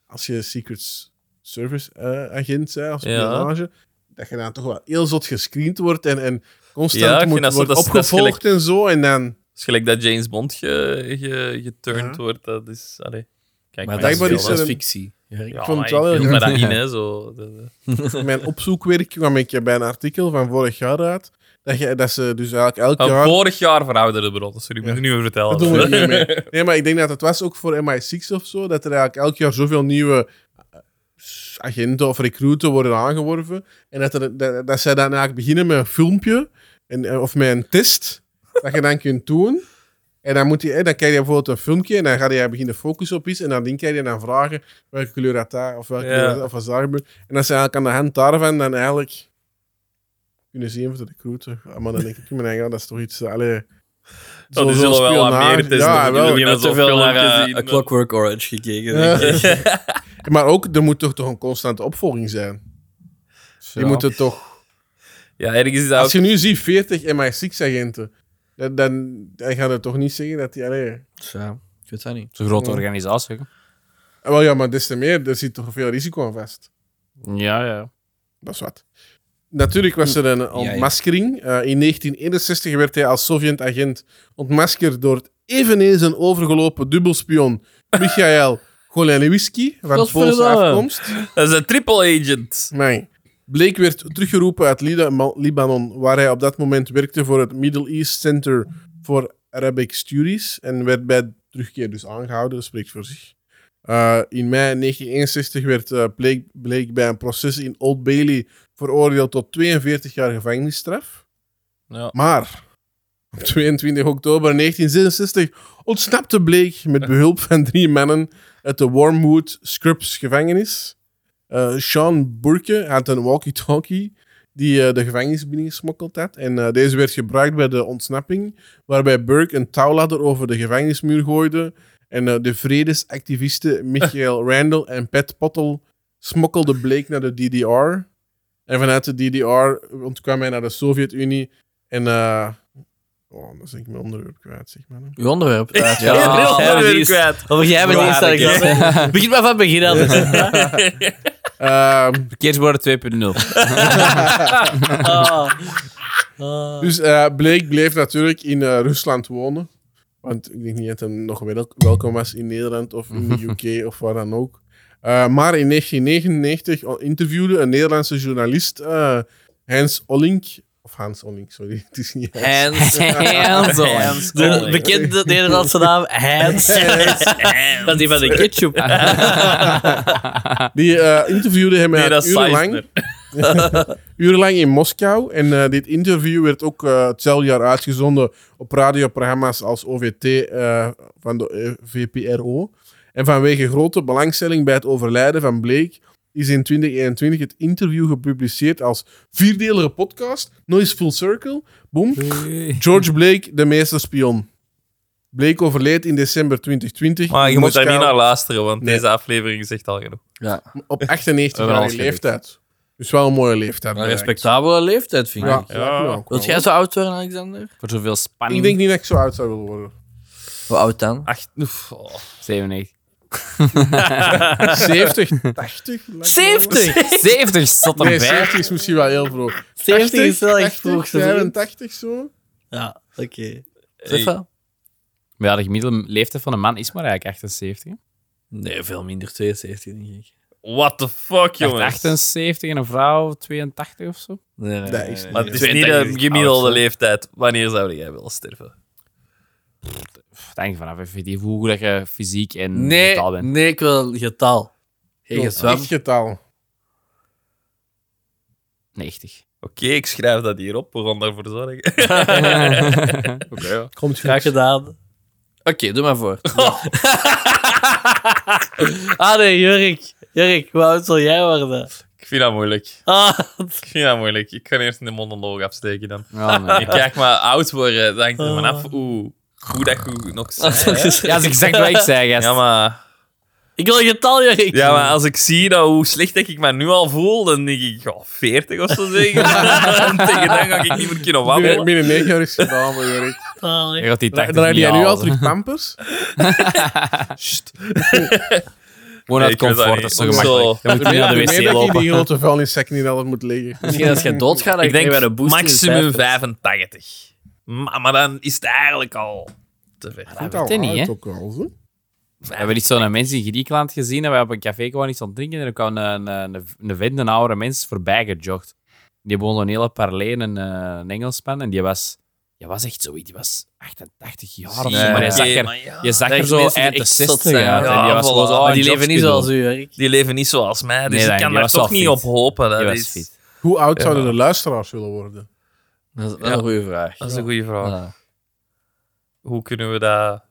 B: als je Secret Service eh, agent bent, als
A: Ja.
B: spionage, dat je dan toch wel heel zot gescreend wordt en,
A: Ja,
B: en
A: ik
B: constant
A: vind
B: moet,
A: dat zo-
B: wordt
A: dat is- dat is
B: opgevolgd en zo. En dan...
A: Het is gelijk dat James Bond ge, ge, geturnd
B: Ja.
A: wordt. Dat is. Allee. Kijk,
D: Maar
B: dat is
A: veel,
B: blijkbaar
A: hè.
B: is er een-
D: fictie. Ja,
A: Ja,
B: vond
A: maar
B: het wel
A: ik
B: heel
A: wil dat in, hè? Zo. De- de-
B: in mijn opzoekwerk kwam ik bij een artikel van vorig jaar uit, dat, je, dat ze dus eigenlijk elk
A: Ah,
B: jaar...
A: vorig jaar verouderde bronnen. Sorry, ik moet
B: Ja.
A: het niet meer vertellen.
B: Dat doen we niet meer mee. Nee, maar ik denk dat het was ook voor MI6 of zo, dat er eigenlijk elk jaar zoveel nieuwe eh, agenten of recruten worden aangeworven. En dat, er, dat, dat zij dan eigenlijk beginnen met een filmpje en, eh, of met een test dat je dan kunt doen. En dan, moet je, eh, dan krijg je bijvoorbeeld een filmpje en dan ga je beginnen focussen op iets. En dan denk je dan vragen welke kleur had dat of welke
A: Ja.
B: kleur had dat, of was daar gebeurd. En dat ze eigenlijk aan de hand daarvan dan eigenlijk kunnen zien of de recruiter. Ah, Maar dan denk ik, maar ja, dat is toch iets. eh, Allee,
A: Oh, die
B: zo- zo'n
A: zullen wel wat
B: spionage.
A: meer testen
B: Ja,
A: doen.
B: wel.
A: Die
D: Je
A: hebben
D: hebt te
A: zoveel
D: veel naar
A: filmpjes
D: eh,
A: zien,
D: A
A: eh.
D: Clockwork Orange gekeken.
B: Ja.
D: denk ik.
B: Maar ook, er moet toch, toch een constante opvolging zijn. Je moet het toch...
A: Ja, ergens is dat ook
B: Als je nu ziet 40 MI6-agenten, dan, dan, dan gaat het toch niet zeggen dat die... Allee.
D: Ja, ik weet dat niet.
C: Zo'n grote organisatie. hè.
B: Ah, Wel ja, maar des te meer, er zit toch veel risico aan vast.
C: Ja, ja.
B: Dat is wat. Natuurlijk was er een ontmaskering. Eh, in 1961 werd hij als Sovjet-agent ontmaskerd door het eveneens een overgelopen dubbelspion Michael Goleniewski, van Poolse
D: Godverdomme.
B: afkomst.
A: Dat is een triple agent.
B: Nee. Blake werd teruggeroepen uit Lida- Libanon, waar hij op dat moment werkte voor het Middle East Center for Arabic Studies en werd bij terugkeer dus aangehouden, dat spreekt voor zich. Eh, Eh, in mei 1961 werd eh, Blake, Blake bij een proces in Old Bailey veroordeeld tot 42 jaar gevangenisstraf.
A: Ja.
B: Maar op 22 oktober 1966 ontsnapte Blake met behulp van drie mannen uit de Wormwood Scripps gevangenis. Eh, Sean Burke had een walkie-talkie die eh, de gevangenis binnengesmokkeld had. En eh, deze werd gebruikt bij de ontsnapping, waarbij Burke een touwladder over de gevangenismuur gooide. En eh, de vredesactivisten Michael Randall en Pat Pottle smokkelden Blake naar de DDR. En vanuit de DDR ontkwam hij naar de Sovjet-Unie. En eh, oh, dat is ik mijn onderwerp kwijt, zeg maar.
D: Uw onderwerp. Ja,
C: Ja,
D: ja.
C: heel
D: Jij bent
C: onderwerp
D: die is-
C: kwijt.
D: Of jij bent die sterk. Begin maar van het begin altijd.
B: Ehm,
C: Verkeersborden 2.0.
D: Ah. Ah.
B: Dus eh Blake bleef natuurlijk in eh, Rusland wonen. Want ik denk niet dat hij nog wel- welkom was in Nederland of in de UK of waar dan ook. Eh, maar in 1999 al interviewde een Nederlandse journalist eh, Hans Ollink. Of Hans Ollink, sorry. Het is niet Hans.
D: Hands.
C: Hands on.
D: Hands. De bekende Nederlandse naam, Hands. Dat is die van de ketchup.
B: Die eh, interviewde hem
D: Nee,
B: eigenlijk
D: dat is
B: urenlang, urenlang in Moskou. En eh, dit interview werd ook eh, hetzelfde jaar uitgezonden op radioprogramma's als OVT eh, van de eh, VPRO. En vanwege grote belangstelling bij het overlijden van Blake is in 2021 het interview gepubliceerd als vierdelige podcast. Noise Full Circle. Boom. George Blake, de meester spion. Blake overleed in december 2020.
A: Maar je
B: in
A: moet daar niet
B: Moskou.
A: naar luisteren, want
B: Nee.
A: deze aflevering zegt al genoeg.
B: Op
C: We hebben alles
B: 98-jarige
C: gericht.
B: leeftijd. Dus wel een mooie leeftijd.
D: Een
B: bereikt.
D: respectabele leeftijd, vind ik.
B: Ja,
A: Ja.
B: ja.
D: Wilt jij zo oud worden, Alexander?
C: Voor zoveel spanning.
B: Ik denk niet dat ik zo oud zou willen worden.
D: Hoe oud dan?
A: Ach, oef, oh.
C: 97.
B: 70, 80? lijkt me wel.
C: 70 zat
B: Nee,
C: erbij.
B: 70 is misschien wel heel vroeg.
D: 70 is wel echt
B: 80,
D: vroeg, ze
B: 85 zo?
D: Ja, oké.
A: Zeg wel.
C: Maar ja, de gemiddelde leeftijd van een man is maar eigenlijk 78. hè?
D: Nee, veel minder. 72, denk ik.
A: What the fuck, jongens.
C: 78 en een vrouw 82 of zo.
D: Nee, nee,
B: Dat
D: nee,
B: is
D: nee.
A: Maar het is niet de gemiddelde leeftijd. Wanneer zou jij willen sterven?
C: Pff, Het hangt vanaf effectief hoe goed dat je fysiek en
D: Nee,
C: mentaal bent.
D: nee, ik wil een getal. Geen
B: Zo'n
D: gezwam.
B: echt getal.
C: 90.
A: Oké, ik schrijf dat hier op. We gaan daarvoor zorgen.
C: Oké, ja.
B: Komt
D: Graag
B: goed.
D: gedaan. Oké, doe maar voor. ah nee, Jurk. Jurk, hoe oud zal jij worden?
A: Ik vind dat moeilijk.
D: Ah,
A: Ik vind dat moeilijk. Ik ga eerst een monoloog afsteken dan.
C: Ja, nee.
A: Ik kijk maar oud worden. Dan hangt er
B: Ah.
A: vanaf hoe, hoe dat je nog bent, hè.
C: Ja, dat is exact wat ik zei, gast.
A: Ja maar,
D: Ik wil een getal, Jurk.
A: ja, maar als ik zie dat hoe slecht dat ik me nu al voel, dan denk ik, ja, 40 of zo zeker. En Tegen dan ga ik niet meer kunnen
B: Binnen,
A: wabbelen.
B: binnen 9 jaar is het gedaan, maar Jorik.
D: Ah, nee.
C: Je gaat die
B: Dra-
C: 80
B: Draai
C: niet
B: jij nu
C: halen.
B: al terug pampers?
C: Gewoon uit
A: Nee, ik weet dat
C: comfort, dat is zo
A: niet.
C: gemakkelijk.
A: Zo.
C: Je moet niet naar de
B: Ik weet
C: wc
B: dat je
C: lopen.
B: die grote vuilniszak niet altijd moet liggen.
D: Misschien als je doodgaat, dan
A: Ik
D: krijg je bij de
A: denk
D: boost in de
A: maximum
D: vijftig.
A: 85. Maar, maar dan is het eigenlijk al te ver.
B: Dat
C: weet ik niet, hè.
B: ook al, zo.
C: We hebben iets zo'n mensen in Griekenland gezien en we hebben op een café gewoon iets aan het drinken en er kwam een, een, een, een vent, een oude mens, voorbij gejogd. Die woonde een hele parley, een, eh, een Engelsman, en die was, die was echt zoiets, die was 88 jaar of zo,
A: Zie je,
C: maar je
A: oké,
C: zag er,
A: maar ja.
C: je zag er
D: Dat
C: zo
D: mensen die
C: eind de
D: echt eh, zot
C: 60
D: zijn,
C: uit.
A: ja.
C: en die
A: Ja,
C: was
A: voilà.
C: gewoon zo, oh,
D: Maar
C: een
D: ah, die leven niet
C: jobs
D: zoals
C: doen.
D: u, Jurk.
A: Die leven niet zoals mij, dus
C: Nee,
A: ik
C: die
A: kan daar
C: was wel
A: toch niet
C: fit.
A: op hopen. Dus Dat
C: Die was
A: is,
C: fit.
B: Hoe oud zouden de luisteraars willen worden?
D: Dat is wel een goede vraag.
A: dat is een goede vraag.
D: Ja.
A: Hoe kunnen we dat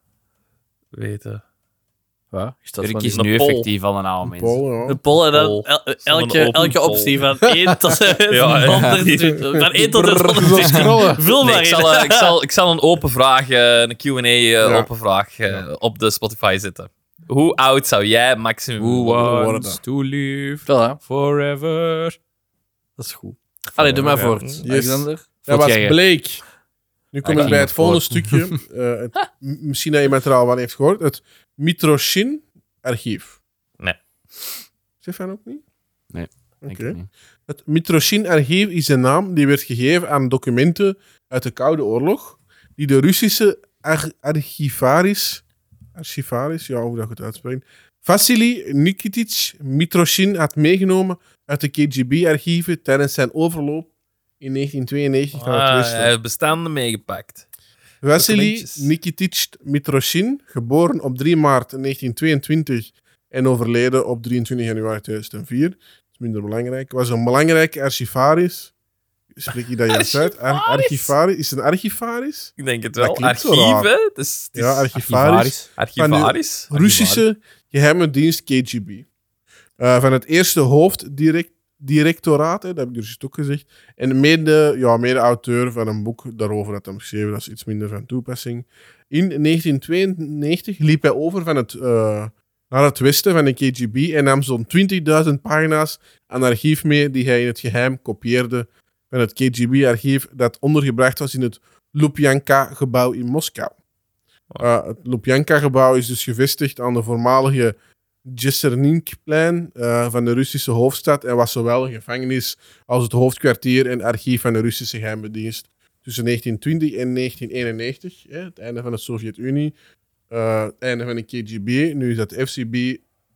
A: weten?
D: Wat? Is dat
C: Dirk
D: van
C: is
D: die-
A: een
C: nu
A: poll.
C: effectief al een oude mens.
B: Paul, ja.
D: Een poll en dan
A: Poll.
D: el-
A: Zo'n
D: elke,
A: open
D: elke
A: poll.
D: optie van 1 tot
A: Ja, ja.
D: 120. Van 1 tot
B: Zo
D: 120.
B: scrollen.
D: Vul
A: Nee,
D: maar
A: ik,
D: in.
A: zal, eh, ik, zal, ik zal een open vraag, eh, een Q&A eh,
B: Ja.
A: open vraag eh, op de Spotify zetten. Hoe oud zou jij maximum
C: Who
A: willen worden?
C: wants to live
D: Voilà,
C: forever?
B: eh,
D: dat is goed. Allee, doe maar
A: Ja.
D: voort,
A: Yes.
D: Alexander.
B: Dat
C: Voelt
B: was
C: jij-
B: Blake. Nu
C: Ah,
B: kom ik
C: ik
B: bij
C: ging
B: het volgende stukje. Eh, het- m- misschien dat iemand er al van heeft gehoord. Het Mitroshin-archief.
A: Nee.
B: Zeg van ook niet?
C: Nee,
B: Oké.
C: Denk ik niet.
B: Het Mitroshin-archief is een naam die werd gegeven aan documenten uit de Koude Oorlog, die de Russische ar- archivaris, archivaris, ja, hoe dat ik het uitspreekt, Vassili Nikitich Mitroshin had meegenomen uit de KGB-archieven tijdens zijn overloop in 1992 naar het
A: Ah,
B: Westen.
A: hij heeft bestaande meegepakt.
B: Vassili
A: Documentjes.
B: Nikitich Mitroshin, geboren op 3 maart 1922 en en overleden op 23 januari 2004. Dat is minder belangrijk. Was een belangrijke archivaris. Spreek je dat juist uit? Ar-
D: Archivaris?
B: archivaris? Is het een archivaris?
A: Ik denk het
B: Dat
A: wel.
B: klinkt zo
A: Archief,
B: raar.
A: hè? Het is, het is
B: Ja, archivaris.
A: archivaris.
B: Russische geheime dienst KGB. Eh, van het eerste hoofddirectoraat, hè, dat heb ik dus ook gezegd. En mede, ja, mede-auteur van een boek daarover dat hij geschreven, dat is iets minder van toepassing. In 1992 liep hij over van het, eh, naar het westen van de KGB en nam zo'n 20.000 pagina's aan archief mee die hij in het geheim kopieerde van het KGB-archief dat ondergebracht was in het Lubyanka-gebouw in Moskou. Uh, het Lubyanka-gebouw is dus gevestigd aan de voormalige Jesserninkplein eh, van de Russische hoofdstad en was zowel een gevangenis als het hoofdkwartier en archief van de Russische geheime dienst. Tussen 1920 en 1991, hè, het einde van de Sovjet-Unie, eh, het einde van de KGB, nu is dat FCB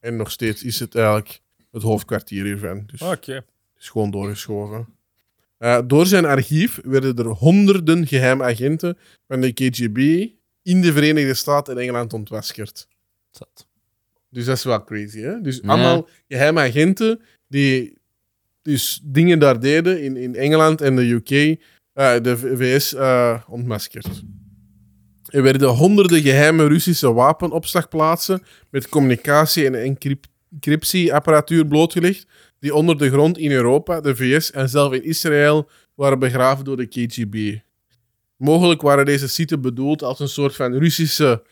B: en nog steeds is het eigenlijk het hoofdkwartier hiervan. Dus
A: Oké.
B: is gewoon doorgeschoven. Eh, door zijn archief werden er honderden geheim agenten van de KGB in de Verenigde Staten en Engeland ontwaskerd.
C: Zat.
B: Dus dat is wel crazy, hè? Dus
C: Ja.
B: allemaal geheime agenten die dus dingen daar deden in, in Engeland en de UK, eh, de V- VS, eh, ontmaskerd. Er werden honderden geheime Russische wapenopslagplaatsen met communicatie- en encryp- encryptieapparatuur blootgelegd, die onder de grond in Europa, de VS en zelf in Israël waren begraven door de KGB. Mogelijk waren deze sites bedoeld als een soort van Russische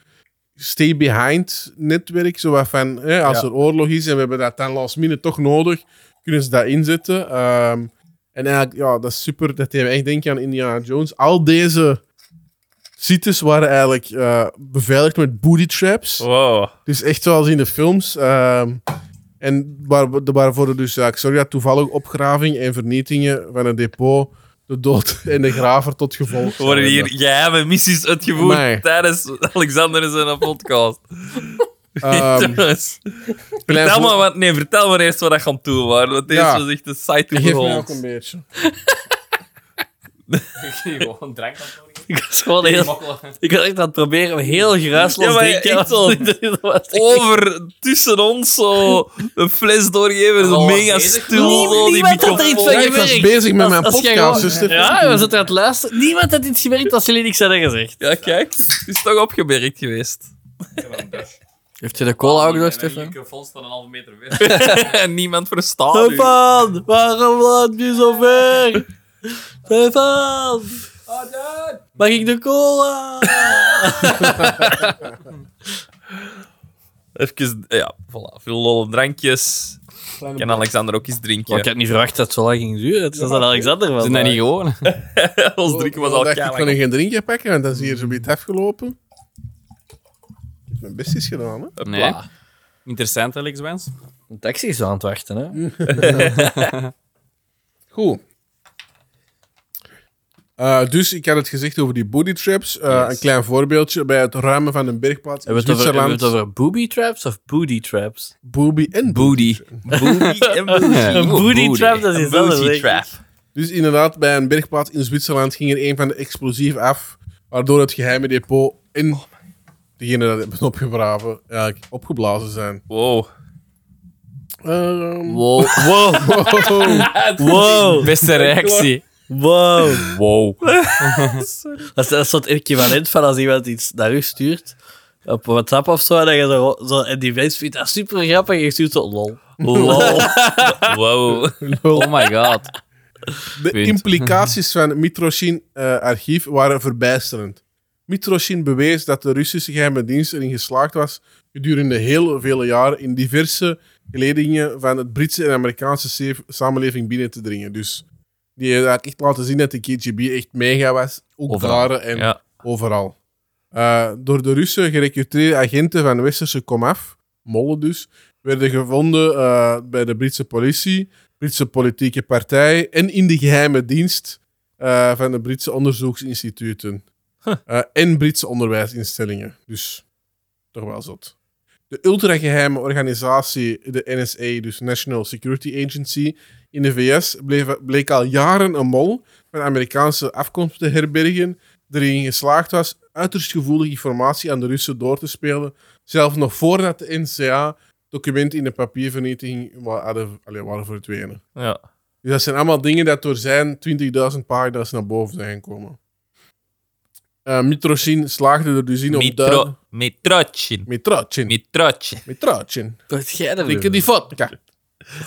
B: stay-behind-netwerk. Zoals van, hè, als
A: Ja.
B: er oorlog is en we hebben dat dan last minute toch nodig, kunnen ze dat inzetten. Ehm, en eigenlijk, ja, dat is super. Dat deed me echt denken aan Indiana Jones. Al deze sites waren eigenlijk eh, beveiligd met booty
A: Oh.
B: traps.
A: Wow.
B: Dus echt zoals in de films. ehm, en waar, waarvoor er dus, ja, ik sorry, dat toevallig opgraving en vernietingen van een depot de dood en de graver tot gevolg.
A: Er worden hier geheime missies uitgevoerd
B: Amai.
A: tijdens Alexander en zijn podcast.
B: Ehm,
A: Jongens,
B: Klein
A: vertel,
B: voor-
A: maar wat, nee, vertel maar eerst wat dat gaan toe waren, want deze
B: Ja.
A: was echt de site to
B: Geef mij ook
A: behold.
B: een beetje.
C: Gewoon drank aan
D: Ik was gewoon heel... Ik was echt aan het proberen om heel geruisloos
A: Ja,
D: te
A: maar
D: drinken.
A: echt zo.
D: Dat was echt-
A: Over, tussen ons, zo een fles doorgeven, zo
C: Oh,
A: mega
C: bezig.
A: stil,
D: Niemand-
A: zo die
D: niemand had er iets
A: microfoon.
D: van
B: Ik was
D: gemerkt.
B: bezig met
D: Als-
B: mijn
D: als jij
B: podcast, dus
D: gewoon-
B: zuster.
D: Ja, we zaten aan het luisteren. Niemand had iets gemerkt als jullie niks hadden gezegd.
A: Ja, kijk, het is toch opgemerkt geweest.
D: Heeft je de cola ook nog, Stefan?
C: microfoon staat een halve meter weg.
A: Niemand verstaat u.
D: Stefan, waarom laat je zo ver? Stefan, Oh, mag ik de cola?
A: Even, ja, voilà, veel lolle drankjes. Kan Alexander ook iets drinken?
D: had niet verwacht dat het zo lang ging duren. Het is dat Alexander was.
C: Zijn dat niet gewoon?
A: Ons drinken
D: Oh,
A: was al
B: Ik dacht, ik kon
A: keilang.
B: geen drinkje pakken, want dan is hier zo'n beetje afgelopen. Ik heb mijn best is gedaan, hè.
C: Nee. Interessant, Alex Wens.
D: Een taxi is aan het wachten, hè?
B: Goed. Eh, dus ik had het gezegd over die booty traps. Eh, Een klein voorbeeldje bij het ruimen van een bergplaats in
D: Hebben we het over, hebben we
B: Zwitserland.
D: het over booby traps of booty traps?
B: Booby en booty.
A: Booty. Booty en booty.
D: Een booty trap, dat is
A: Een
D: wel
A: booty
D: een
A: trap.
B: Dus inderdaad, bij een bergplaats in Zwitserland ging er een van de explosieven af, waardoor het geheime depot en degene dat hebben opgegraven eigenlijk opgeblazen zijn.
A: Wow.
B: Ehm,
D: Wow. Wow.
B: wow.
D: Wow.
C: Beste reactie.
D: wow.
C: Wow.
D: Dat is, dat is zo het equivalent van als iemand iets naar u stuurt. Op WhatsApp of zo. En dat je zo, zo, en die mens vindt dat super grappig. En je stuurt zo lol.
A: Wow. wow.
C: Oh my god.
B: De
C: Punt.
B: implicaties van Mitroshin eh, archief waren verbijsterend. Mitroshin bewees dat de Russische geheime dienst erin geslaagd was gedurende heel vele jaren in diverse geledingen van het Britse en Amerikaanse se- samenleving binnen te dringen. Dus die heeft eigenlijk echt laten zien dat de KGB echt mega was, ook
C: Overal.
B: daar en
A: Ja.
B: overal. Eh, door de Russen gerecruiteerde agenten van westerse komaf, mollen dus, werden gevonden eh, bij de Britse politie, Britse politieke partij en in de geheime dienst eh, van de Britse onderzoeksinstituten Eh, en Britse onderwijsinstellingen. Dus toch wel zot. De ultrageheime organisatie, de NSA, dus National Security Agency, in de VS bleef, bleek al jaren een mol van Amerikaanse afkomst te herbergen erin geslaagd was uiterst gevoelige informatie aan de Russen door te spelen, zelfs nog voordat de NCA documenten in de papiervernietiging wa- hadden, allee, waren verdwenen.
A: Ja.
B: Dus dat zijn allemaal dingen dat door zijn 20.000 pagina's naar boven zijn gekomen. Eh Mitroshin slaagde er dus in om duidelijk-
A: Mitro, mitrotje.
B: Mitrotjin.
A: Mitrotje.
B: Mitrotjin.
D: Wat jij dat
B: Dikke die vodka.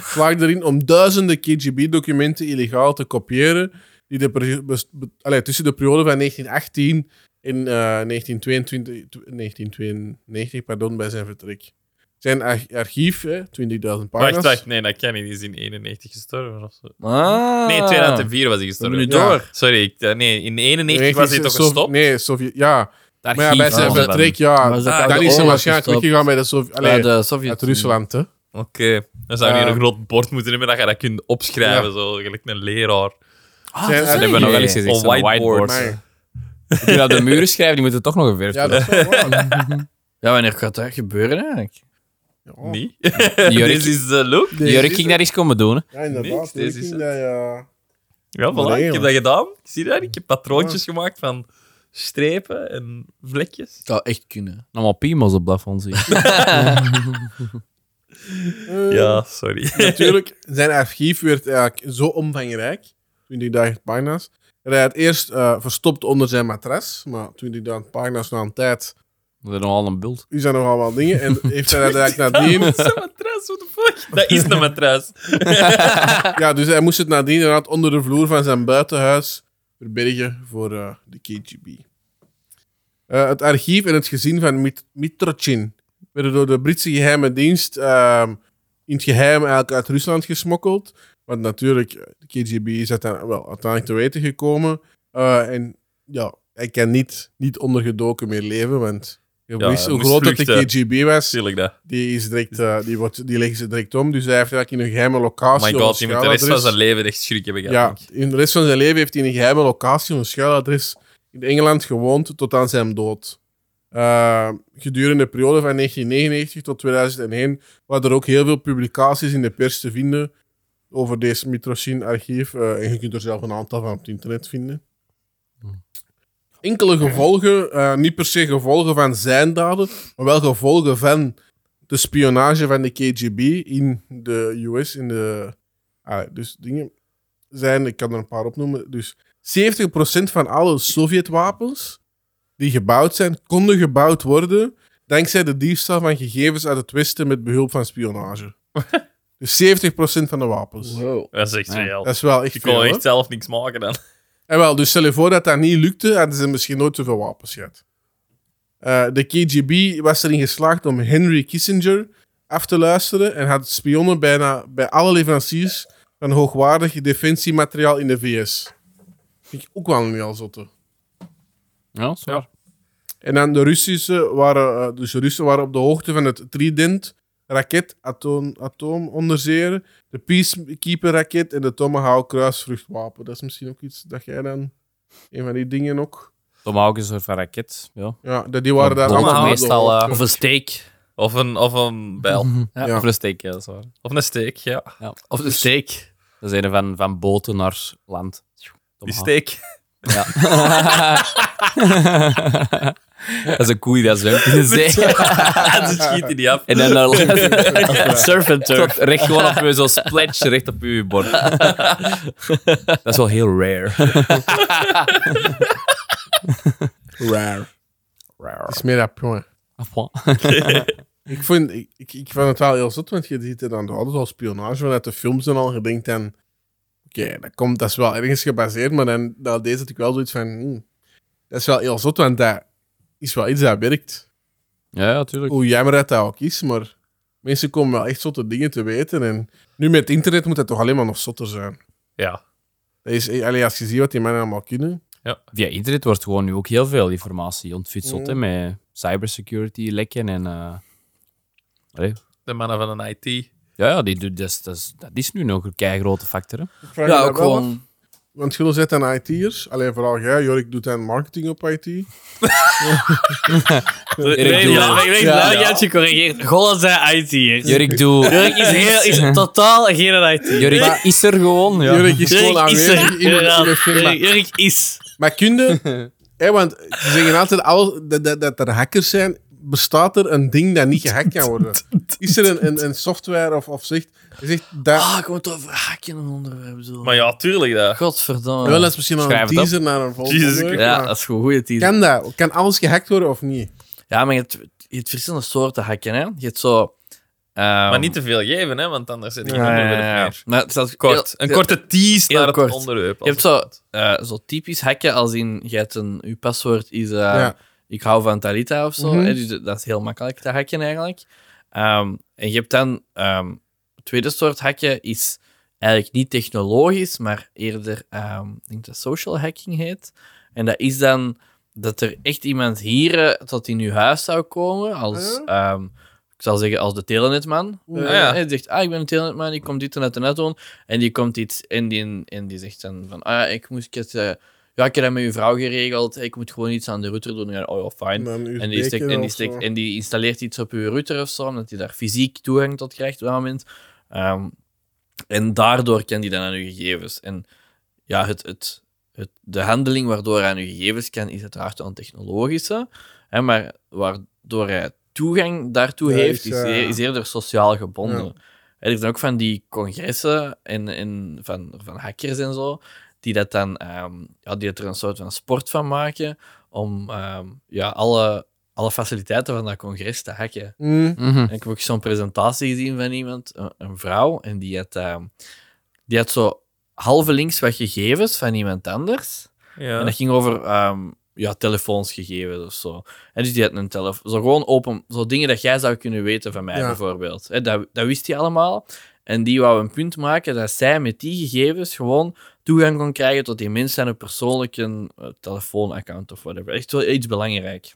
B: Slaagde erin om duizenden KGB-documenten illegaal te kopiëren. Die de peri- bes- be- allee, tussen de periode van 1918 en eh, 1922, tw- 1992 pardon, bij zijn vertrek. Zijn ar- archief, hè, 20.000 pagina's.
A: Wacht, wacht. Nee, dat kan niet. Die is in 91 gestorven of zo.
D: Ah.
A: Nee, 2004 was hij gestorven.
D: We hebben
B: nu
A: Ja.
B: door.
A: Sorry, ik, eh, nee, in 91 was hij toch
B: Sov-
A: gestopt? Ah,
B: Nee, Sovjet. Ja,
C: Het
B: maar ja, bij
C: archief
B: zijn
D: was
C: van-
D: dat
B: vertrek, ja.
D: Was dat
B: Dan
D: uit de
B: is hij
D: oorlog
B: waarschijnlijk
D: gestopt?
B: weggegaan bij de Sovjet.
D: Bij
B: Allee,
D: de Sovjet.
B: uit Rusland, hè.
A: Oké. Dan zou je hier
B: Eh.
A: een groot bord moeten hebben dat je dat kunt opschrijven, zo, gelijk een leraar.
D: Ah,
B: Zijn-
D: dat
B: Ze
D: is
B: hebben
D: niet.
B: nog wel
C: eens gezegd,
A: Of
C: zo'n
A: whiteboard.
C: whiteboard.
B: Maar,
C: Die kunnen op de muren schrijven, die moeten toch nog geverfd
B: ja,
C: worden.
B: dat is wel waar.
D: Ja, wanneer gaat dat gebeuren eigenlijk?
B: Ja.
A: Niet? Dit Oh. is de look.
B: Deze
C: Jurk
B: is
C: ging
B: het.
C: daar eens komen doen. hè.
B: Ja, inderdaad.
A: Niks,
B: Deze
A: deze
B: is
A: is
B: dat, ja.
A: Ja, voilà.
B: Nee,
A: ik heb
B: man.
A: dat gedaan. Zie je dat? Ik heb patroontjes gemaakt van strepen en vlekjes.
D: Dat zou echt kunnen.
C: Allemaal piemels op plafond zien.
B: Eh,
A: Ja, sorry.
B: Natuurlijk, zijn archief werd eigenlijk zo omvangrijk, 20.000 pagina's, dat hij het eerst eh, verstopt onder zijn matras. Maar 20.000 pagina's na een tijd
C: Dat is nogal een bult.
B: is dat nogal wat dingen. En heeft hij dat eigenlijk nadien...
A: Dat is een matras, what the fuck? Dat is een matras.
B: Ja, dus hij moest het nadien inderdaad onder de vloer van zijn buitenhuis verbergen voor eh, de KGB. Eh, het archief en het gezin van Mit Mitrochin werden door de Britse geheime dienst ehm, in het geheim eigenlijk uit Rusland gesmokkeld. Want natuurlijk, eh, de KGB is uiteindelijk, wel, uiteindelijk te weten gekomen. Eh, en ja, hij kan niet, niet ondergedoken meer leven, want je
A: Ja,
B: wist
A: hij
B: hoe
A: moest
B: groot dat de
A: vluchten.
B: KGB was.
A: Natuurlijk dat.
B: Die, is direct, eh, die, wordt, die leggen ze direct om. Dus hij heeft eigenlijk in een geheime
A: Oh
B: locatie.
A: my
B: op een
A: god, die moet de rest van
B: schuiladres-
A: zijn leven echt schrik hebben gehad.
B: ja,
A: denk ik.
B: in de rest van zijn leven heeft hij in een geheime locatie, een schuiladres, in Engeland gewoond tot aan zijn dood. Eh, gedurende de periode van 1999 tot 2001 waren er ook heel veel publicaties in de pers te vinden over deze Mitroshin-archief. eh, en je kunt er zelf een aantal van op het internet vinden. Enkele gevolgen, eh, niet per se gevolgen van zijn daden, maar wel gevolgen van de spionage van de KGB in de US, in de... ah, dus dingen zijn, ik kan er een paar opnoemen. Dus 70% van alle Sovjetwapens die gebouwd zijn, konden gebouwd worden dankzij de diefstal van gegevens uit het Westen met behulp van spionage. dus 70% van de wapens.
D: Wow.
A: Dat is echt
C: Ja.
A: reëel.
B: Dat is wel echt
A: Ik
B: veel,
A: kon
B: hè?
A: echt zelf niks maken dan.
B: En wel, dus stel je voor dat dat niet lukte, hadden ze misschien nooit zoveel wapens gehad. Eh, de KGB was erin geslaagd om Henry Kissinger af te luisteren en had spionnen bijna bij alle leveranciers van hoogwaardig defensiemateriaal in de VS. Vind ik ook wel niet al zotte.
C: Ja, dat is waar.
B: En dan de Russische waren, eh, dus de Russen waren op de hoogte van het Trident raket, atoom, atoomonderzeeër, de Peacekeeper raket en de Tomahawk kruisvruchtwapen. Dat is misschien ook iets dat jij dan, een van die dingen ook.
C: Tomahawk is een soort van raket. Ja.
B: Ja, dat die waren daar
C: Bommen
B: allemaal op de
C: meestal,
B: hoogte.
C: eh,
D: Of een steek.
A: Of een, of een bijl.
C: Ja,
B: Ja.
C: Voor een steek, ja, dat is waar.
A: Of een steek, ja.
D: Of
C: dus-
D: een steek.
C: Dat is een van, van boten naar land.
A: Die
C: Tomahawk.
A: steek.
C: Ja. dat is een koe die dat zwemt in de zee.
A: En ze schieten die af.
C: en dan naar land.
D: Surf and
C: Tot
D: turf.
C: recht gewoon op je, zo splatsch, recht op je bord. dat is wel heel rare.
B: Rare.
C: Rare.
B: Dat is meer dat, jongen. Ik, vind, ik, ik, ik vond het wel heel zot, want je ziet het aan de ouders al spionage vanuit de films en al. Je denkt dan, oké, dat komt dat is wel ergens gebaseerd, maar dan na deze had ik wel zoiets van, hmm, dat is wel heel zot, want dat is wel iets dat werkt.
C: Ja, natuurlijk.
B: Hoe jammer dat dat ook is, maar mensen komen wel echt zotte dingen te weten. En nu met het internet moet dat toch alleen maar nog zotter zijn.
A: Ja.
B: Dat is, allee, als je ziet wat die mannen allemaal kunnen.
C: Via internet wordt gewoon nu ook heel veel informatie ontfutseld, hè, met cybersecurity lekken en... eh, allee.
A: De mannen van een IT.
C: Ja, ja die, doet- dat, is, dat, is, dat is nu nog een keigrote factor. Hè.
B: Ik vraag me
D: Ja,
B: dat
D: ook
B: wel af.
D: gewoon.
B: Want Gilles zit aan IT'ers. Alleen vooral jij, Jorik, doet aan marketing op IT.
C: Erik, doe
D: Ja,
C: dat.
D: ik weet
B: Ja.
D: dat je hebt gecorrigeerd. Golan zijn IT.
C: Jurk, doe...
D: Jurk is, heel, is totaal geen IT.
C: Jurk is er gewoon, ja.
B: Jorik is gewoon
D: Jurk is
B: aanwezig
D: er.
B: in de- in de
D: inderdaad.
B: firma.
D: Jurk- Jurk is.
B: Maar kunde, hè, want ze zeggen altijd al dat, dat, dat er hackers zijn. bestaat er een ding dat niet gehackt kan worden? Is er een, een, een software of, of zegt, zegt dat,
D: Ah, ik moet over hakken een onderwerp zo.
A: Maar ja, tuurlijk. Dat.
D: Godverdomme.
B: wel eens misschien al
C: Schrijf
B: een
C: het op.
B: teaser naar een volgende.
A: Jezus
B: onderwerp,
D: ja,
B: maar
D: dat is gewoon een goede titel.
B: Kan dat? Kan alles gehackt worden of niet?
D: Ja, maar je hebt, je hebt verschillende soorten hakken, hè. Je hebt zo... ehm,
A: Maar niet te veel geven, hè, want anders zit je
D: ja, ja,
A: onderwerp
D: ja.
A: meer.
D: Maar het staat
A: Kort.
D: heel-
A: Een korte tease
D: heel
A: naar het
D: kort.
A: onderwerp.
D: Je hebt zo, eh, zo typisch hacken als in... Je hebt een... Je paswoord is... eh,
B: Ja.
D: ik hou van Talita of zo.
B: Mhm.
D: hè, dus dat- dat is heel makkelijk te hacken eigenlijk. Ehm, en je hebt dan ehm, het tweede soort hacken is eigenlijk niet technologisch, maar eerder ehm, ik denk dat social hacking heet. En dat is dan dat er echt iemand hier eh, tot in uw huis zou komen als ehm, ik zal zeggen als de telenetman.
B: Ja,
D: Eh,
A: ja.
D: Hij zegt, ah, ik ben een telenetman, ik kom dit en dat en dat doen. En die komt iets en die, en die zegt dan van, ah, ik moest het, eh, ja, ik heb dat met uw vrouw geregeld, ik moet gewoon iets aan de router doen. Ja, oh ja, fijn.
B: Dan
D: En die,
B: USB-keer
D: steekt, en, die
B: of zo.
D: steekt, en die installeert iets op uw router of zo, omdat hij daar fysiek toegang tot krijgt op dat moment. Ehm, en daardoor kan die dan aan uw gegevens. En ja, het, het, het, de handeling waardoor hij aan uw gegevens kan, is uiteraard wel een technologische. Hè, maar waardoor hij toegang daartoe
B: Ja,
D: heeft,
B: is,
D: is,
B: eh,
D: eer- is eerder sociaal gebonden.
B: Ja.
D: En er zijn ook van die congressen en, en van, van hackers en zo, die, dat dan, ehm, ja, die er een soort van sport van maken om ehm, ja, alle, alle faciliteiten van dat congres te hacken.
B: Mm.
C: Mhm.
D: En ik heb ook zo'n presentatie gezien van iemand, een, een vrouw, en die had, ehm, die had zo halve links wat gegevens van iemand anders. En
A: Ja.
D: dat ging over ehm, ja, telefoonsgegevens of zo. En dus die had een telefoon. Zo gewoon open, zo dingen dat jij zou kunnen weten van mij
B: Ja.
D: bijvoorbeeld. Hè, dat, dat wist hij allemaal. En die wou een punt maken dat zij met die gegevens gewoon toegang kon krijgen tot die mensen aan hun persoonlijke eh, telefoonaccount of whatever. Echt wel iets belangrijk.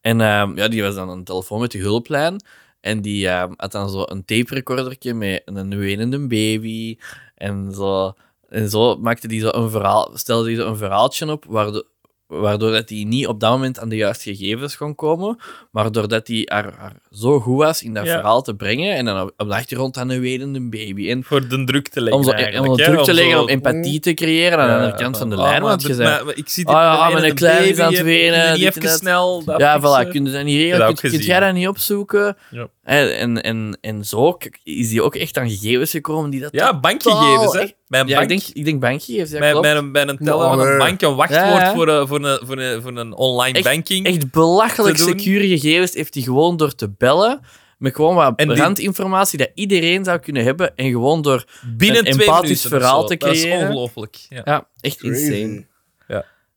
D: En ehm, ja, die was dan aan de telefoon met de hulplijn. En die ehm, had dan zo een tape recordertje met een wenende baby. En zo, en zo maakte die zo een verhaal, stelde die zo een verhaaltje op, waardoor, waardoor dat die niet op dat moment aan de juiste gegevens kon komen, maar doordat die haar, haar zo goed was in dat
A: Ja.
D: verhaal te brengen, en dan op, op de achtergrond aan een wedende baby. En
A: Voor de druk te leggen.
D: om zo
A: eigenlijk,
D: om zo
A: hè,
D: druk te
A: om zo- Mm.
D: leggen, om empathie te creëren aan de
A: Ja,
D: andere kant van de
A: oh,
D: lijn,
A: maar
D: want je
A: dat-
D: zei...
A: maar- maar Ik zie
D: Ah, ja,
A: alleen
D: maar
A: een
D: een klein
A: baby,
D: is aan het
A: je kunt die
D: wenen,
A: niet
D: dit en
A: even
D: dat.
A: snel. dat
D: Ja,
A: fixen.
D: voilà, kun je dat niet
A: dat
D: regelen?
A: ook
D: Kun, kunt
A: gezien.
D: jij dat niet opzoeken?
A: Ja.
D: En, en, en, en zo k- is die ook echt aan gegevens gekomen die dat...
A: Ja, bankgegevens,
D: Totaal,
A: hè?
D: echt.
A: Mijn
D: Ja,
A: bank.
D: ik denk, ik denk bankgegevens, ja,
A: bij,
D: klopt.
A: bij een, bij een teller van een
B: Allee.
A: bank een wachtwoord
D: Ja, ja.
A: voor, een, voor, een, voor, een, voor een online
D: Echt-
A: banking.
D: Echt belachelijk
A: te doen.
D: secure gegevens heeft hij gewoon door te bellen. Met gewoon wat
A: En die-
D: brandinformatie dat iedereen zou kunnen hebben. En gewoon door.
A: binnen
D: een
A: twee
D: empathisch
A: minuten of
D: verhaal
A: zo.
D: te
A: Dat is
D: creëren.
A: ongelooflijk. Ja.
D: Ja, echt insane.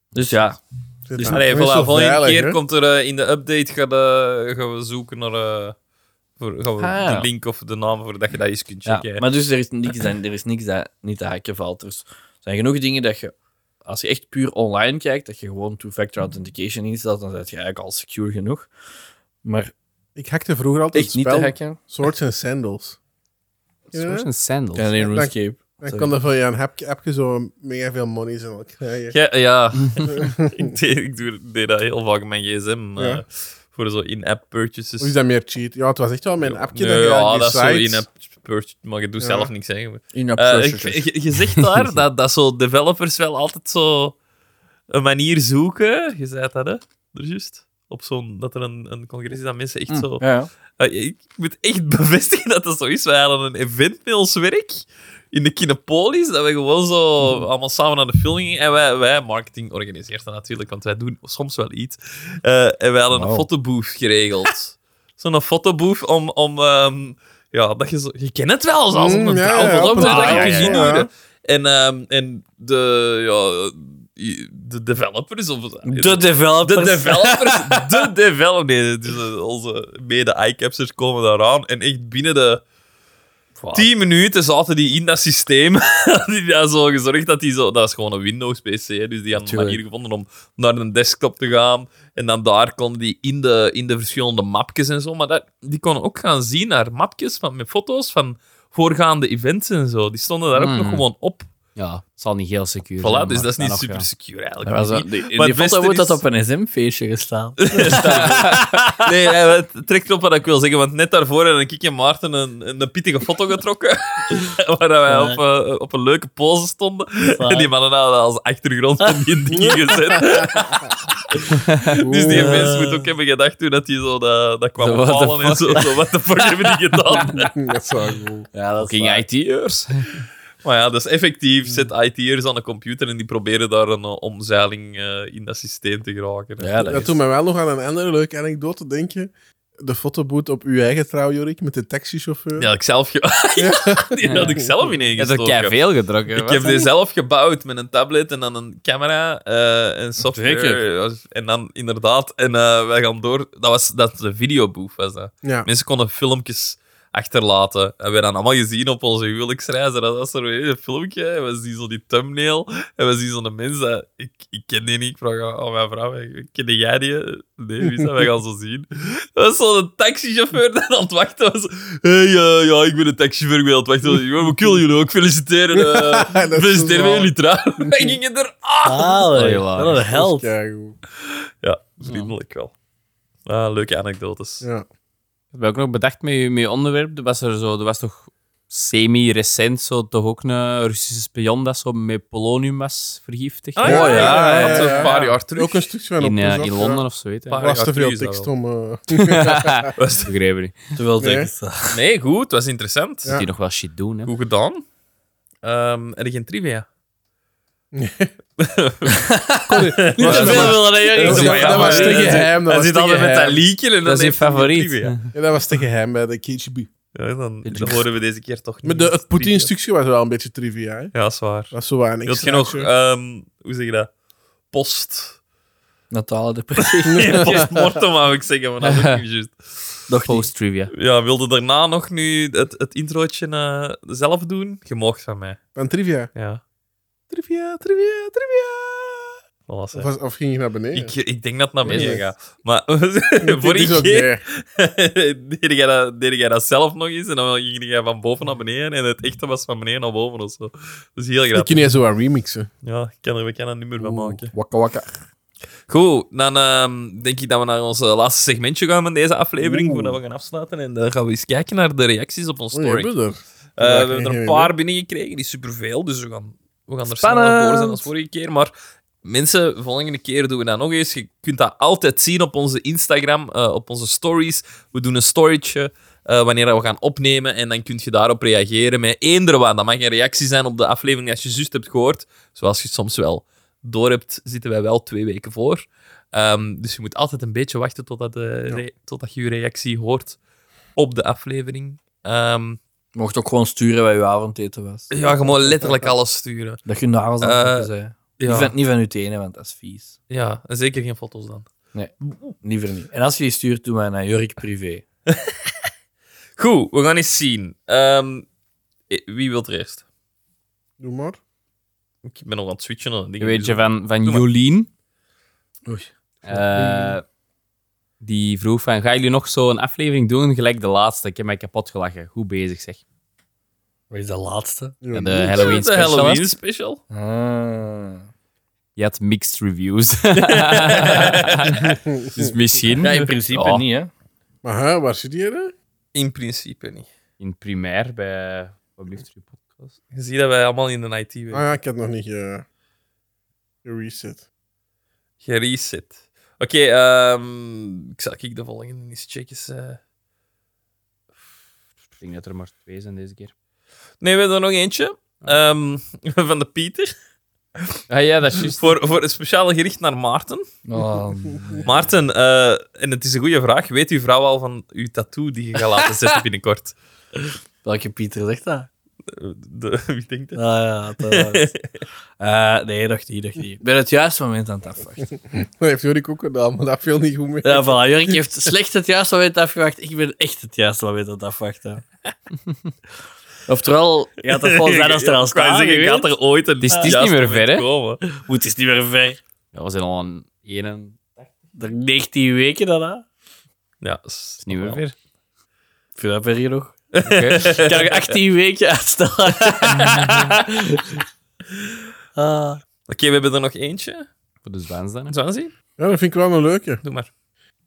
D: Dus ja,
B: Zit
D: Dus-
B: daar.
A: Allee,
B: Dat is
A: voilà,
B: zo
A: volgende
B: veilig,
A: keer
B: hè?
A: komt er eh, in de update gaan, eh, gaan we zoeken naar eh, voor, gaan we
D: Ah, ja.
A: de link of de naam voor dat je dat eens kunt
D: ja.
A: checken. hè.
D: maar dus er is, niks dat, er is niks dat niet te hacken valt. Dus er zijn genoeg dingen dat je, als je echt puur online kijkt, dat je gewoon two-factor authentication instelt, dan ben je eigenlijk al secure genoeg. Maar
B: Ik hackte vroeger altijd
D: echt
B: het
D: niet te
B: spel
D: hacken.
B: Swords and Sandals.
C: Swords and Sandals.
D: Ja, nee,
B: Dank-
D: RuneScape.
B: Dan kan er van je een hapje, hapje zo mega veel monies en wat krijgen.
A: Ja, dus- ja. ik, deed, ik doe- deed dat heel vaak met mijn gsm. eh,
B: Ja.
A: voor zo in-app purchases.
B: Of is dat meer cheat? Ja, het was echt wel mijn appje
A: Nee,
B: dat je
A: ja,
B: aan die
A: dat is zo
B: site-
A: in-app purchase, maar je doet
B: Ja.
A: zelf niks. Hè.
D: In
A: Eh, ik- je, je zegt daar dat, dat zo developers wel altijd zo een manier zoeken. Je zei dat, hè? Er juist. Op zo'n, dat er een, een congres is dat mensen echt zo.
D: Ja.
A: Eh, Ik moet echt bevestigen dat dat zo is. Wij hadden een event met ons werk in de Kinepolis. Dat we gewoon zo
B: Hmm.
A: allemaal samen naar de film gingen. En wij, wij marketing organiseerden natuurlijk, want wij doen soms wel iets. Eh, en wij hadden een
D: Wauw.
A: fotobooth geregeld. Zo'n fotobooth om. om ehm, ja, dat je, zo, je kent het wel, zoals op
B: Mm,
A: een
B: ja,
A: trouw
B: ja,
A: van
B: op
A: opzet
B: een
A: dat je
B: trouw,
A: kunt
B: ja, ja.
A: inhuren. En, ehm, en de, ja, de developers... Of,
D: De developers.
A: de developers, de developers. Nee, dus eh, onze mede-eyecapsers komen daaraan. En echt binnen de 10 minuten zaten die in dat systeem. die daar zo gezorgd dat die zo... Dat is gewoon een Windows-PC. hè, Dus die hadden een
D: Tuurlijk.
A: manier gevonden om naar een desktop te gaan. En dan daar konden die in de, in de verschillende mapjes en zo. Maar dat, die konden ook gaan
D: Hmm.
A: zien naar mapjes van, met foto's van voorgaande events en zo. Die stonden daar ook
C: Mm.
A: nog gewoon op.
C: Ja, het zal niet heel secure zijn.
A: Voilà, dus
C: maar
A: dat is niet
C: dan nog,
A: super
C: ja.
A: secure eigenlijk.
D: Dat was
A: Niet-
D: een- die,
A: Maar het
D: die
A: beste
D: foto moet
A: is-
D: dat op een SM-feestje gestaan.
A: nee, ja, maar het trekt op wat ik wil zeggen, want net daarvoor heb ik en Maarten een, een pittige foto getrokken, waar wij op, eh, op een leuke pose stonden. En die mannen hadden als achtergrond van die dingen gezet. dus die mens moet ook hebben gedacht toen dat hij zo dat, dat kwam
C: Zo, what the
A: vallen en zo, zo, what the fuck hebben die gedaan?
B: dat is wel goed.
D: Ja, dat
C: Fucking IT'ers.
A: Maar ja, dat is effectief, zet IT'ers aan de computer en die proberen daar een eh, omzeiling eh, in dat systeem te geraken. hè.
D: Ja, dat
B: Dat doet mij wel nog aan een andere leuke anekdote denken. De fotoboot op uw eigen trouw, Jorik, met de taxichauffeur.
A: Die had ik zelf, ge- ja, die had ik zelf
C: Je hebt er
A: ineengestoken.
C: kei veel gedrokken.
A: Ik heb die zelf gebouwd met een tablet en dan een camera eh, en software.
D: Zeker.
A: En dan inderdaad, en eh, wij gaan door. Dat was dat de videoboef, was dat.
B: Ja.
A: Mensen konden filmpjes achterlaten. En we hebben dat allemaal gezien op onze huwelijksreizen. Dat was er weer een filmpje. En we zien zo die thumbnail. En we zien zo'n mens. Dat, ik, ik ken die niet. Ik vraag aan aan mijn vrouw. Ken jij die? Nee, wie is dat? Wij gaan zo zien. Dat was zo'n taxichauffeur dat aan het wachten was. hey, eh, ja, ik ben een taxichauffeur. Ik ben aan het wachten. Ja, maar Ik wil jullie ook feliciteren. eh,
B: Dat is
A: feliciteren met
B: wel-
A: jullie trouw. Wij gingen er
D: Ah,
C: Oh,
D: ja,
C: ja.
D: wat een
B: dat is
D: held.
B: keigoed.
A: Ja, vriendelijk wel. Ah, leuke anekdotes.
B: Ja.
C: Ik heb ook nog bedacht met je, met je onderwerp. Er was, er zo, er was toch semi-recent zo, toch ook een Russische spion dat zo met polonium was vergiftigd.
A: Ah, ja,
B: Oh, ja,
A: ja,
B: ja,
A: dat is
B: ja,
A: een
B: ja.
A: paar jaar terug.
B: Ook een stukje van
C: in, eh,
B: opgezocht,
C: in
B: ja.
C: Londen of zo, weet je.
A: Paar-
B: Er was te veel
A: Ja,
B: tekst om... eh,
A: Was-
C: Begrepen niet.
D: Te veel
B: Nee.
D: tekst.
A: Nee, goed. Het was interessant.
B: Ja.
C: Die nog wel shit doen, hè.
A: Goed gedaan. Ehm er geen trivia.
B: Niet te veel.
A: willen reageren.
B: dat- dat was te geheim, dat
A: Hij
B: was
A: zit
B: te
A: altijd met dat
B: geheim.
A: liedje en
C: Dat
A: dan
C: is je
A: heeft hij geen
C: favoriet.
A: trivia.
B: Ja, dat was te geheim bij de KGB.
A: Ja, dan, dan horen we deze keer toch niet.
B: Maar de, het
A: trivia.
B: Poetin-stukje was wel een beetje trivia. Hè?
A: Ja, dat is waar.
B: Dat is zo waar.
A: Wil je nog, ehm, hoe zeg je dat? Post.
D: Natale depressie.
A: Nee, Postmortem, wou ik zeggen, maar dat is ook niet juist.
D: Nog niet.
C: Post-trivia.
A: Ja, wilde daarna nog nu het, het introotje eh, zelf doen? Je moogt van mij.
B: Van trivia.
A: Ja.
B: Trivia, trivia, trivia.
A: Wat was het?
B: Of, was- of ging je naar beneden?
A: Ik, ik denk dat het naar
B: Nee,
A: beneden
B: nee.
A: gaat. Maar
B: Dit
A: voor
B: is
A: ik
B: ook
A: keer
B: weer.
A: deed, jij dat, deed jij dat zelf nog eens en dan ging jij van boven naar beneden en het echte was van beneden naar boven of zo. Dat is heel
B: Ik
A: grappig.
B: kun je zo aan remixen. Oh,
A: Ja, ik kan er, we kunnen er een nummer van maken.
B: Wakka wakka.
A: Goed, dan ehm, denk ik dat we naar ons eh, laatste segmentje gaan met deze aflevering,
B: Oeh.
A: voordat we gaan afsluiten. En dan gaan we eens kijken naar de reacties op onze
B: Oh, je
A: story.
B: hebt er.
A: Eh,
B: Ja,
A: we
B: geen
A: hebben er een
B: idee.
A: paar binnengekregen, die superveel, dus we gaan, we gaan er sneller door zijn als vorige keer. Maar mensen, volgende keer doen we dat nog eens. Je kunt dat altijd zien op onze Instagram, eh, op onze stories. We doen een storytje eh, wanneer we gaan opnemen en dan kun je daarop reageren met eender wat. Dat mag een reactie zijn op de aflevering als je juist hebt gehoord. Zoals je soms wel door hebt, zitten wij wel twee weken voor. Ehm, dus je moet altijd een beetje wachten totdat, de re- totdat je je reactie hoort op de aflevering. Ehm,
D: Je mocht ook gewoon sturen waar je avondeten was.
A: ja, gewoon letterlijk alles sturen.
D: Dat je nagels aan
A: Eh,
D: het plukken zijn. Niet
A: Ja,
D: van- Niet van je tenen, want dat is vies.
A: ja en zeker geen foto's dan.
D: Liever niet. En als je die stuurt, doe mij naar Jurk privé.
A: Goed, we gaan eens zien. Ehm, eh, wie wil er eerst?
B: Doe maar.
A: Ik ben nog aan het switchen. aan
C: Een
A: dingen.
C: beetje van, van
A: Doe maar.
C: Jolien.
D: Oei.
C: Eh, die vroeg van, gaan jullie nog zo'n aflevering doen? Gelijk de laatste. Ik heb mij kapot gelachen. Goed bezig, zeg.
D: Wat is de laatste?
B: Doe
C: Ja,
B: maar.
C: de
A: Ja,
B: Doe.
C: Halloween
A: de
C: special. was
A: Halloween
C: het.
A: special.
D: Ah.
C: Je had mixed reviews. dus misschien... Oh,
D: Ja, Oh. in principe
C: Ja,
D: niet, hè.
B: Maar hè, waar zit je hè?
A: In principe niet.
C: In primair bij... Wat blijft er podcast?
A: Je ziet dat wij allemaal in de IT
B: Ah
A: werken.
B: ja, ik heb nog niet ge... gereset.
A: Gereset. Oké, ehm, ik zal ik de volgende eens checken. eh.
C: Ik denk dat er maar twee zijn deze keer.
A: Nee, we hebben er nog eentje. Ehm, van de Pieter.
C: Ah ja, dat is juist.
A: Voor, voor een speciale gericht naar Maarten.
D: Oh,
A: Maarten, eh, en het is een goede vraag. Weet uw vrouw al van uw tattoo die je gaat laten zetten binnenkort?
D: welke Pieter zegt dat?
A: De, wie denkt dat?
D: Ah ja, dat was- Eh, Nee, nog niet, nog niet. Ik ben het juiste moment aan het afwachten.
B: Dat heeft Jorik ook gedaan, maar dat viel niet goed mee.
D: Ja, voilà. Jurk heeft slecht het juiste moment afgewacht. Ik ben echt het juiste moment aan het afwachten. Oftewel, gaat het gewoon zijn als er al
A: Ik wou
D: staat.
A: zeggen,
D: je
A: gaat
D: weet.
A: er ooit een
C: Het
D: Ah.
C: is- het is
A: juist
C: niet meer
A: moment
C: ver, hè?
A: komen.
D: Moet is niet meer ver.
C: Ja, we zijn al aan één en...
D: Er 19 weken daarna.
A: Ja, dat is
C: Is niet meer
A: normaal.
C: ver.
D: Ik vind dat ver genoeg.
C: Oké.
D: Ik kan nog 18 weken uitstellen. Ah.
A: we hebben er nog eentje.
C: Voor de Zwaans dan. hè.
A: Zanzi?
B: Ja, dat vind ik wel een leuke.
A: Doe maar.